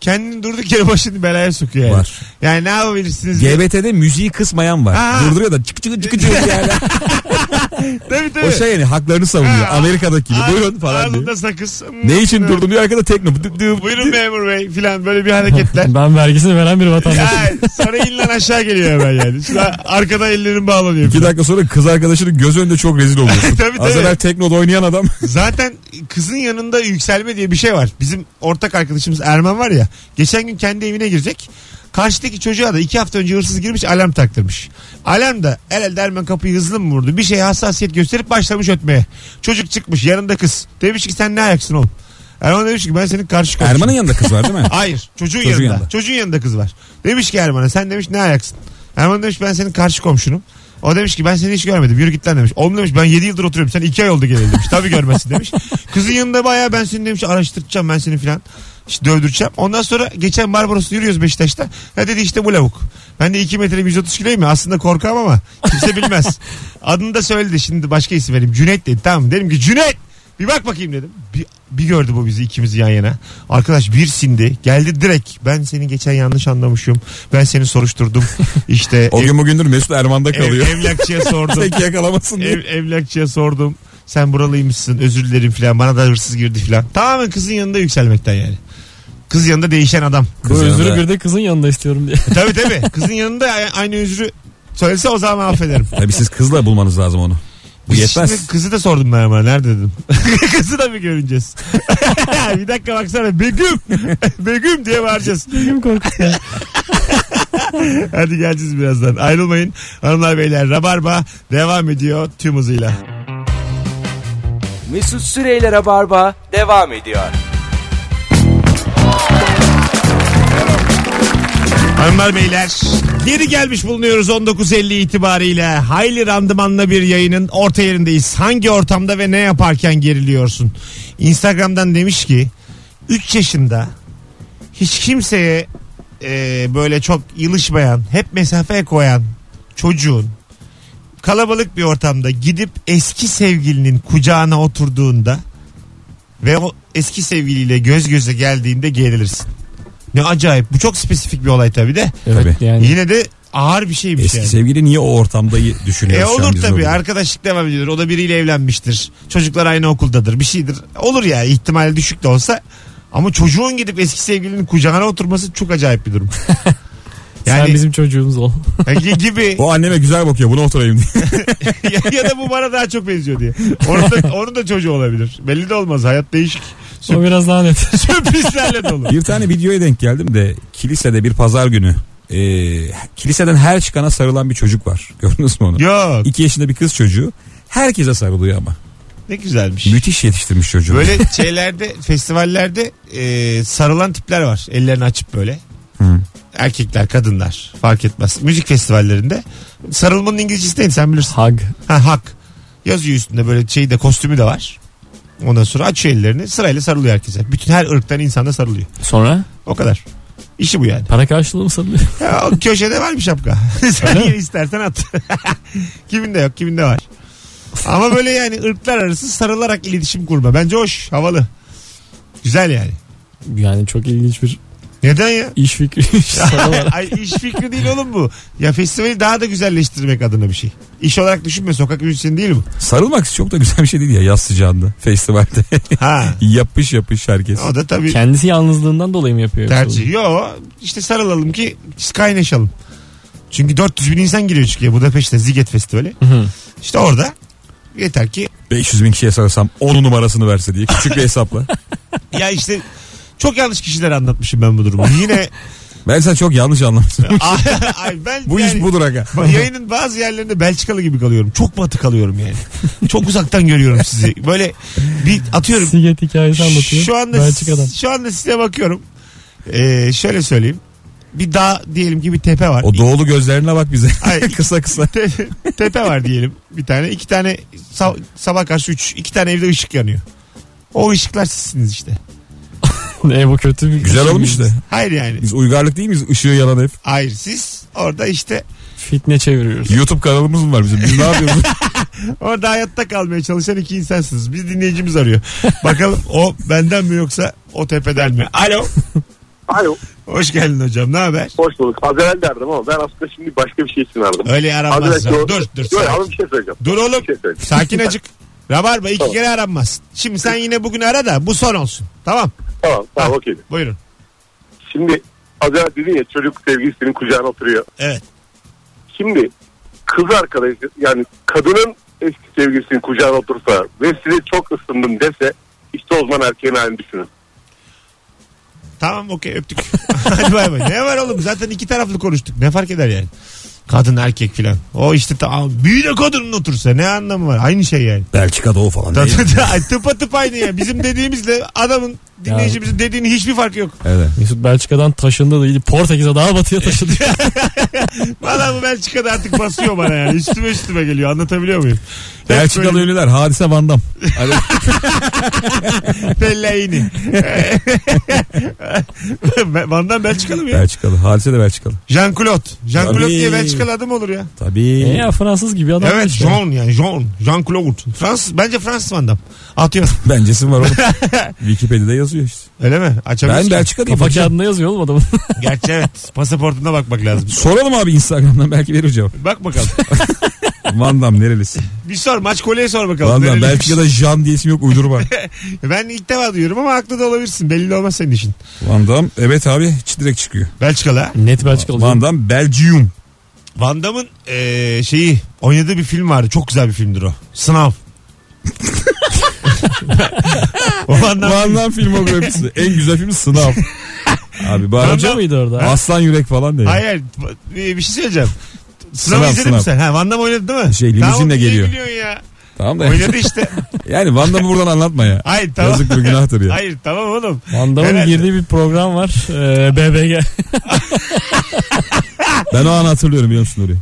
B: kendini durduk yere başını belaya sokuyor yani.
C: Var.
B: Yani ne yapabilirsiniz? diye.
C: GBT'de müziği kısmayan var.
B: Ha.
C: Durduruyor da çık çık çık çık yani.
B: tabii tabii.
C: O şey yani haklarını savunuyor.
B: Ha.
C: Amerika'daki gibi.
B: Ağ-
C: Buyurun falan diyor.
B: Ağzında sakız.
C: Ne için durdum diyor arkada tekno. Dı- dı-
B: Buyurun memur bey filan böyle bir hareketler.
D: Ben vergisini veren bir vatandaş.
B: ya, sonra inlen aşağı geliyor hemen yani. Şuna arkada ellerin bağlanıyor.
C: İki
B: filan.
C: dakika sonra kız arkadaşının göz önünde çok rezil oluyorsun.
B: Tabii,
C: Az
B: tabii.
C: evvel teknoda oynayan adam.
B: Zaten kızın yanında yükselme diye bir şey var. Bizim ortak arkadaşımız Erman var ya. Geçen gün kendi evine girecek. Karşıdaki çocuğa da iki hafta önce hırsız girmiş alarm taktırmış. Alarm da herhalde Erman kapıyı hızlı mı vurdu? Bir şeye hassasiyet gösterip başlamış ötmeye. Çocuk çıkmış yanında kız. Demiş ki sen ne ayaksın oğlum? Erman demiş ki ben senin karşı komşum.
C: Erman'ın yanında kız var değil mi?
B: Hayır çocuğun,
C: Çocuğun
B: yanında.
C: yanında.
B: Çocuğun yanında kız var. Demiş ki Erman'a sen demiş ne ayaksın? Erman demiş ben senin karşı komşunum. O demiş ki ben seni hiç görmedim yürü git lan demiş. Oğlum demiş ben 7 yıldır oturuyorum sen 2 ay oldu geleli demiş. Tabii görmezsin demiş. Kızın yanında bayağı ben seni demiş araştıracağım ben seni filan. İşte dövdüreceğim. Ondan sonra geçen Barbaros'ta yürüyoruz Beşiktaş'ta. Ha dedi işte bu lavuk. Ben de 2 metre 130 kiloyum ya. Aslında korkam ama kimse bilmez. Adını da söyledi şimdi başka isim vereyim. Cüneyt dedi tamam. Dedim ki Cüneyt bir bak bakayım dedim. Bir, bir gördü bu bizi ikimizi yan yana. Arkadaş bir sindi. Geldi direkt. Ben seni geçen yanlış anlamışım. Ben seni soruşturdum. İşte
C: O gün bugündür Mesut Erman'da
B: ev,
C: kalıyor.
B: evlakçıya sordum.
C: Tek yakalamasın diye.
B: Ev, evlakçıya sordum. Sen buralıymışsın özür dilerim filan. Bana da hırsız girdi filan. Tamamen kızın yanında yükselmekten yani. Kız yanında değişen adam. E,
D: Bu
C: Kız
D: özürü
C: yanında.
D: bir de kızın yanında istiyorum diye.
B: Tabii tabii. Kızın yanında a- aynı özrü söylese o zaman affederim.
C: Tabii siz kızla bulmanız lazım onu. Bu
B: Şimdi
C: yetmez.
B: kızı da sordum ben ama nerede dedim. kızı da mı görüneceğiz? bir dakika baksana Begüm. Begüm diye bağıracağız.
D: Benim korkutuyor.
B: Hadi geleceğiz birazdan. Ayrılmayın. Hanımlar beyler Rabarba devam ediyor tüm hızıyla.
A: Mesut Süreyler'e barba devam ediyor.
B: Hanımlar beyler geri gelmiş bulunuyoruz 19.50 itibariyle. Hayli randımanlı bir yayının orta yerindeyiz. Hangi ortamda ve ne yaparken geriliyorsun? Instagram'dan demiş ki 3 yaşında hiç kimseye e, böyle çok yılışmayan, hep mesafe koyan çocuğun kalabalık bir ortamda gidip eski sevgilinin kucağına oturduğunda ve o eski sevgiliyle göz göze geldiğinde gerilirsin. Ne acayip. Bu çok spesifik bir olay tabii de.
D: Evet
C: Tabii.
D: yani.
B: Yine de ağır bir şeymiş
C: Eski
B: yani.
C: sevgili niye o ortamda y- düşünüyoruz
B: E
C: şu an
B: olur
C: biz
B: tabii.
C: orada?
B: Arkadaşlık devam ediyor. O da biriyle evlenmiştir. Çocuklar aynı okuldadır. Bir şeydir. Olur ya ihtimali düşük de olsa. Ama çocuğun gidip eski sevgilinin kucağına oturması çok acayip bir durum.
D: Sen
B: Yani
D: bizim çocuğumuz ol.
B: gibi
C: O anneme güzel bakıyor buna oturayım diye.
B: ya da bu bana daha çok benziyor diye. Onun da, onun da çocuğu olabilir. Belli de olmaz. Hayat değişik. Süp-
D: o biraz daha net.
B: Sürprizlerle dolu.
C: bir tane videoya denk geldim de kilisede bir pazar günü. e, kiliseden her çıkana sarılan bir çocuk var. Gördünüz mü onu?
B: Yok.
C: İki yaşında bir kız çocuğu. Herkese sarılıyor ama.
B: Ne güzelmiş.
C: Müthiş yetiştirmiş çocuğu.
B: Böyle şeylerde festivallerde e, sarılan tipler var. Ellerini açıp böyle.
C: Hı.
B: Erkekler, kadınlar fark etmez. Müzik festivallerinde sarılmanın İngilizcesi değil sen bilirsin.
D: Hag.
B: Ha hak. Yazıyor üstünde böyle şey de kostümü de var. Ondan sonra açıyor ellerini sırayla sarılıyor herkese. Bütün her ırktan insan da sarılıyor.
D: Sonra
B: O kadar. İşi bu yani.
D: para karşılığı mı sanılıyor?
B: Ya, o köşede var bir şapka. sen yine istersen at. kiminde yok kiminde var. Ama böyle yani ırklar arası sarılarak iletişim kurma. Bence hoş havalı. Güzel yani.
D: Yani çok ilginç bir
B: Neden ya?
D: iş fikri. iş sana var.
B: Ay iş fikri değil oğlum bu. Ya festivali daha da güzelleştirmek adına bir şey. İş olarak düşünme sokak müzisyeni değil bu.
C: Sarılmak çok da güzel bir şey değil ya yaz sıcağında festivalde.
B: Ha.
C: yapış yapış herkes.
B: O da tabii
D: Kendisi yalnızlığından dolayı mı yapıyor? yoksa?
B: tercih. Yo işte sarılalım ki kaynaşalım. Çünkü 400 bin insan giriyor çünkü Budapeşte Ziget Festivali.
D: Hı hı.
B: İşte orada yeter ki
C: 500 bin kişiye sarılsam 10 numarasını verse diye küçük bir hesapla.
B: ya işte çok yanlış kişilere anlatmışım ben bu durumu. Yine
C: Ben sen çok yanlış anlamışsın.
B: ay, ay ben
C: Bu
B: yani-
C: iş budur aga.
B: Ba- Yayının bazı yerlerinde Belçikalı gibi kalıyorum. Çok batı kalıyorum yani. Çok uzaktan görüyorum sizi. Böyle bir atıyorum.
D: Siget hikayesi anlatıyor.
B: Şu anda
D: Belçika'dan.
B: şu anda size bakıyorum. Ee, şöyle söyleyeyim. Bir dağ diyelim ki bir tepe var.
C: O doğulu gözlerine bak bize.
B: Ay.
C: kısa kısa.
B: Te- tepe var diyelim bir tane. iki tane sa- sabah karşı üç. iki tane evde ışık yanıyor. O ışıklar sizsiniz işte.
D: Ne bu kötü bir şey.
C: Güzel olmuş işte.
B: Hayır yani.
C: Biz uygarlık değil miyiz? Işığı yalan hep.
B: Hayır siz orada işte
D: Fitne çeviriyoruz.
C: YouTube kanalımız mı var bizim? Biz ne yapıyoruz?
B: orada hayatta kalmaya çalışan iki insansınız. Bir dinleyicimiz arıyor. Bakalım o benden mi yoksa o tepeden mi? Alo.
F: Alo.
B: Hoş geldin hocam. Ne haber?
F: Hoş bulduk. Az evvel derdim ama ben aslında şimdi başka bir şey için aradım.
B: Öyle
F: Az
B: aranmaz.
F: evvel
B: Dur dur.
F: Yok,
B: sakin.
F: ama bir şey söyleyeceğim.
B: Dur oğlum.
F: Bir şey söyleyeceğim.
B: Sakin acık. Rabarba iki
F: Tamam.
B: kere aranmaz. Şimdi sen yine bugün ara da bu son olsun. Tamam.
F: Tamam tamam
B: Ha.
F: okey.
B: Buyurun.
F: Şimdi az evvel dedin ya çocuk sevgilisinin kucağına oturuyor.
B: Evet.
F: Şimdi kız arkadaşı yani kadının eski sevgilisinin kucağına otursa ve size çok ısındım dese işte o zaman erkeğin halini düşünün.
B: Tamam okey öptük. Hadi bay bay. Ne var oğlum zaten iki taraflı konuştuk. Ne fark eder yani? Kadın erkek filan. O işte tamam. Büyü de kadının otursa ne anlamı var? Aynı şey yani.
C: Belçika doğu falan.
B: Da-
C: değil.
B: da- da- Ay, tıpa tıp aynı ya. Bizim dediğimizle adamın Dinleyicimizin dediğinin hiçbir farkı yok.
C: Evet.
D: Mesut Belçika'dan taşındı değil Portekiz'e daha batıya taşındı.
B: Valla bu Belçika'da artık basıyor bana yani. Üstüme üstüme geliyor. Anlatabiliyor muyum? Hep
C: Belçikalı
B: böyle
C: ölüler. Hadise Vandam.
B: Fellaini. Ben- Van'dan Belçikalı mı ya?
C: Belçikalı. Hadise de Belçikalı.
B: Jean-Claude. Jean-Claude diye
C: Tabii.
B: Belçikalı adı mı olur ya?
C: Tabii.
D: e ya Fransız gibi adam.
B: evet
D: işte.
B: Jean yani Jean. Jean-Claude. Fransız. Bence Fransız Van Damme. Atıyor.
C: Bencesin var oğlum. Wikipedia'da yazıyor işte.
B: Öyle mi? Açabiliriz.
C: Ben
B: ki.
C: Belçika'dayım.
D: Kafa
C: hocam.
D: kağıdında yazıyor oğlum adamın.
B: Gerçi evet. Pasaportuna bakmak lazım.
C: Soralım abi Instagram'dan belki verir cevap.
B: Bak bakalım.
C: Vandam nerelisin?
B: Bir sor. Maç koleye sor bakalım.
C: Vandam
B: Nereliymiş?
C: Belçika'da Jean diye isim yok uydurma.
B: Ben ilk defa duyuyorum ama haklı da olabilirsin. Belli de olmaz senin işin.
C: Vandam evet abi çi- direkt çıkıyor.
B: Belçikalı ha.
D: Net Belçikalı. canım.
C: Vandam Belgium.
B: Van Damme'ın eee, şeyi oynadığı bir film vardı. Çok güzel bir filmdir o. Sınav. o Van Damme-
C: Vandam filmografisi. En güzel film Sınav. Abi bari
D: Hoca mıydı orada?
C: Aslan Yürek falan diyor.
B: Hayır bir bir şey söyleyeceğim. Sınav,
C: Sınav,
B: izledin mi
C: sınav.
B: sen? Ha, Van Damme oynadı değil mi?
C: Şey, limuzinle
B: tamam, niye
C: geliyor.
B: gülüyorsun ya?
C: Tamam da
B: Oynadı işte.
C: yani Vandam'ı buradan anlatma ya.
B: Hayır tamam.
C: Yazık bir günahtır ya.
B: Hayır tamam oğlum.
D: Van Damme'ın
B: Herhalde.
D: girdiği bir program var. Ee, BBG.
C: Ben o an hatırlıyorum biliyor musun Nuri?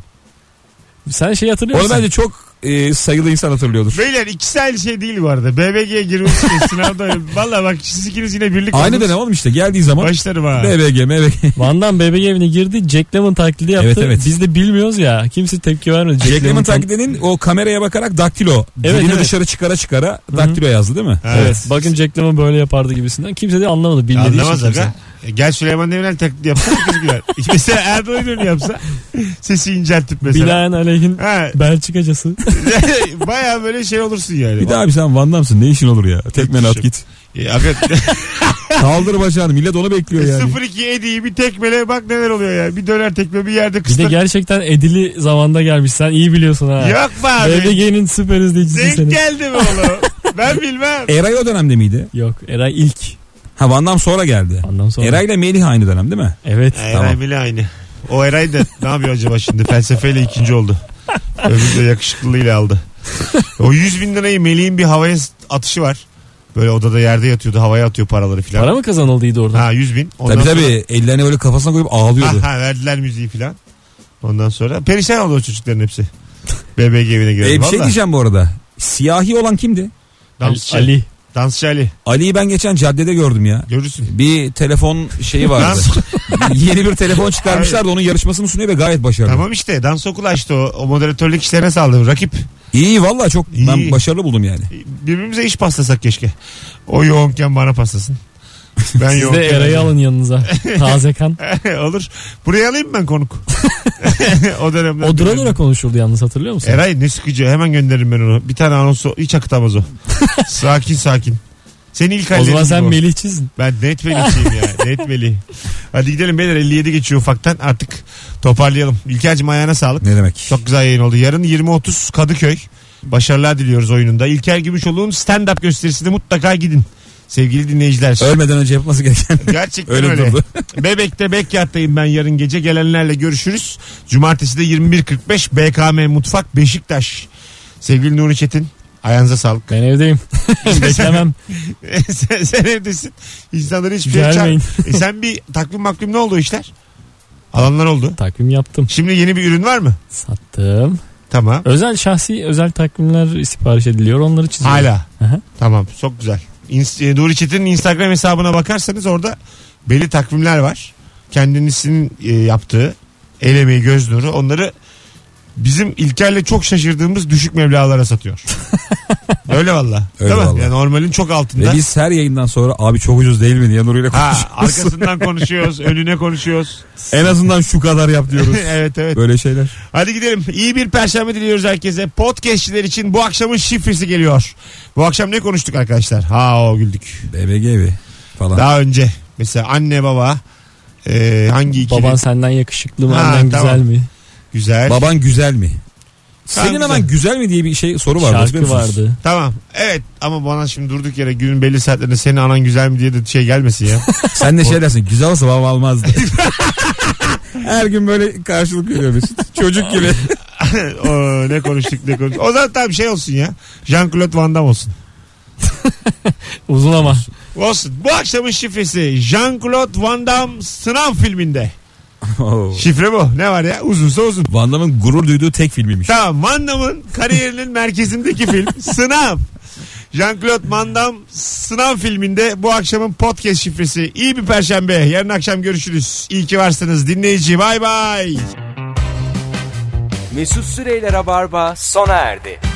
D: Sen şey hatırlıyor
C: Onu
D: musun?
C: bence çok e, sayılı insan hatırlıyordur.
B: Beyler ikisi aynı şey değil bu arada. BBG'ye girmesi için sınavda oynadı. Valla bak siz ikiniz yine birlik
C: Aynı
B: oldunuz.
C: dönem oğlum işte geldiği zaman
B: Başlarım ha.
C: BBG, MBG.
D: Van Damme BBG evine girdi. Jack Lemmon taklidi yaptı.
C: Evet, evet.
D: Biz de bilmiyoruz ya. Kimse tepki vermedi.
C: Jack Lemmon
D: tak-
C: taklidinin o kameraya bakarak daktilo.
D: Evet,
C: dilini
D: evet.
C: dışarı çıkara çıkara daktilo yazdı değil mi?
B: Ha.
D: Evet. Bakın Jack Lemmon böyle yapardı gibisinden. Kimse de anlamadı. Bilmediği
B: Anlamaz
D: için kimse.
B: aga. E, Gel Süleyman Demirel taklidi yapsa herkes güler. Mesela Erdoğan İnönü yapsa sesi inceltip mesela.
D: Bilayen aleyhin
B: Ha,
D: Belçikacası.
B: Baya böyle şey olursun yani.
C: Bir de abi sen Van Damme'sın ne işin olur ya? Tekmen at git.
B: E, aga,
C: Kaldır bacağını millet onu
B: E,
C: bekliyor yani.
B: 0-2 Edi'yi bir tekmele bak neler oluyor ya. Bir döner tekme bir yerde
D: Bir
B: kısır.
D: de gerçekten edili zamanda gelmiş. Sen iyi biliyorsun ha.
B: Yok be abi.
D: BBG'nin süper izleyicisi
B: Denk
D: seni.
B: geldi mi oğlum? ben bilmem.
C: Eray o dönemde miydi?
D: Yok Eray ilk.
C: Ha Van Damme sonra geldi.
D: Ondan sonra.
C: Eray ile Melih aynı dönem değil mi?
D: Evet.
B: Eray bile aynı. O Eray da ne yapıyor acaba şimdi? Felsefeyle ikinci oldu. Öbürü de yakışıklılığıyla aldı. O 100 bin lirayı Melih'in bir havaya atışı var. Böyle odada yerde yatıyordu havaya atıyor paraları filan.
D: Para mı kazanıldıydı orada?
B: Ha 100 bin. Ondan
C: Tabii
B: sonra-
C: tabii ellerini böyle kafasına koyup ağlıyordu.
B: Ha, ha, verdiler müziği filan. Ondan sonra perişan oldu o çocukların hepsi. BBG evine
C: E,
B: girdi.
C: bir
B: Valla.
C: şey diyeceğim bu arada. Siyahi olan kimdi?
B: Dansçı. Ali.
D: Ali.
B: Dansçı Ali.
C: Ali'yi ben geçen caddede gördüm ya.
B: Görürsün.
C: Bir telefon şeyi vardı.
B: Dans,
C: Yeni bir telefon çıkarmışlar da onun yarışmasını sunuyor ve gayet başarılı.
B: tamam işte dans okulu açtı o, o moderatörlük işlerine saldı rakip.
C: İyi valla çok
B: İyi.
C: ben başarılı buldum yani.
B: Birbirimize iş paslasak keşke. O yoğunken bana paslasın. Ben
D: Siz de
B: yoğunken.
D: Eray'ı alın yanınıza. Taze kan.
B: Olur. Buraya alayım ben konuk. o dönemde.
D: O dura dura konuşurdu yalnız hatırlıyor musun?
B: Eray ne sıkıcı hemen gönderirim ben onu. Bir tane anonsu hiç akıtamaz o. sakin sakin. Senin ilk
D: o
B: hallerin
D: zaman
B: gibi
D: sen
B: o.
D: Melih çiz.
B: Ben net Melih'ciyim ya. Net Melih. Hadi gidelim beyler 57 geçiyor ufaktan artık toparlayalım. İlker'cim ayağına sağlık.
C: Ne demek?
B: Çok güzel yayın oldu. Yarın 20.30 Kadıköy. Başarılar diliyoruz oyununda. İlker Gümüşoğlu'nun stand-up gösterisine mutlaka gidin. Sevgili dinleyiciler.
C: Ölmeden önce yapılması gereken
B: Gerçekten
C: öyle,
B: öyle.
C: durdu.
B: Bebek'te Bekyat'tayım ben yarın gece. Gelenlerle görüşürüz. Cumartesi de 21.45 BKM Mutfak Beşiktaş. Sevgili Nuri Çetin. Ayağınıza sağlık.
D: Ben evdeyim. Beklemem.
B: sen, sen evdesin. İnsanları hiçbir şey çağır-
D: Gelmeyin.
B: E sen bir takvim makvim ne oldu o işler? Alanlar oldu.
D: Takvim yaptım.
B: Şimdi yeni bir ürün var mı?
D: Sattım.
B: Tamam.
D: Özel şahsi özel takvimler sipariş ediliyor. Onları çiziyorum.
B: Hala.
D: Aha.
B: Tamam çok güzel. İns- e, Nuri Çetin'in Instagram hesabına bakarsanız orada belli takvimler var. Kendisinin e, yaptığı el emeği göz nuru onları bizim İlker'le çok şaşırdığımız düşük meblağlara satıyor. Öyle valla.
C: Öyle
B: Değil mi?
C: valla.
B: Yani normalin çok altında.
C: Ve E, biz her yayından sonra abi çok ucuz değil mi diye Nuri ile konuşuyoruz.
B: Ha, arkasından konuşuyoruz, önüne konuşuyoruz.
C: En azından şu kadar yap diyoruz.
B: evet evet.
C: Böyle şeyler.
B: Hadi gidelim. İyi bir perşembe diliyoruz herkese. Podcastçiler için bu akşamın şifresi geliyor. Bu akşam ne konuştuk arkadaşlar? Ha o güldük.
C: BBG evi falan.
B: Daha önce mesela anne baba e, hangi ikili
D: Baban senden yakışıklı mı?
B: Ha,
D: annen
B: tamam.
D: güzel mi?
B: güzel.
C: Baban güzel mi?
B: Tamam,
C: Senin
B: güzel.
C: hemen güzel mi diye bir şey soru vardı. hatırlıyor
D: Şarkı
C: musunuz?
D: vardı.
B: Tamam. Evet ama bana şimdi durduk yere günün belli saatlerinde senin anan güzel mi diye de şey gelmesin ya.
C: Sen de şey dersin güzel olsa babam almazdı. her gün böyle karşılık veriyor Mesut. Çocuk gibi.
B: o, ne konuştuk ne konuştuk. O zaman tamam şey olsun ya. Jean-Claude Van Damme olsun.
D: Uzun ama.
B: Olsun. Bu akşamın şifresi Jean-Claude Van Damme sınav filminde.
C: Oo.
B: Şifre bu. Ne var ya? Uzunsa uzun.
C: Van Damme'ın gurur duyduğu tek filmiymiş.
B: Tamam Van Damme'ın kariyerinin merkezindeki film Sınav. Jean-Claude Van Damme Sınav filminde bu akşamın podcast şifresi. İyi bir perşembe. Yarın akşam görüşürüz. İyi ki varsınız dinleyici. Bay bay.
A: Mesut Süreyler'e barba sona erdi.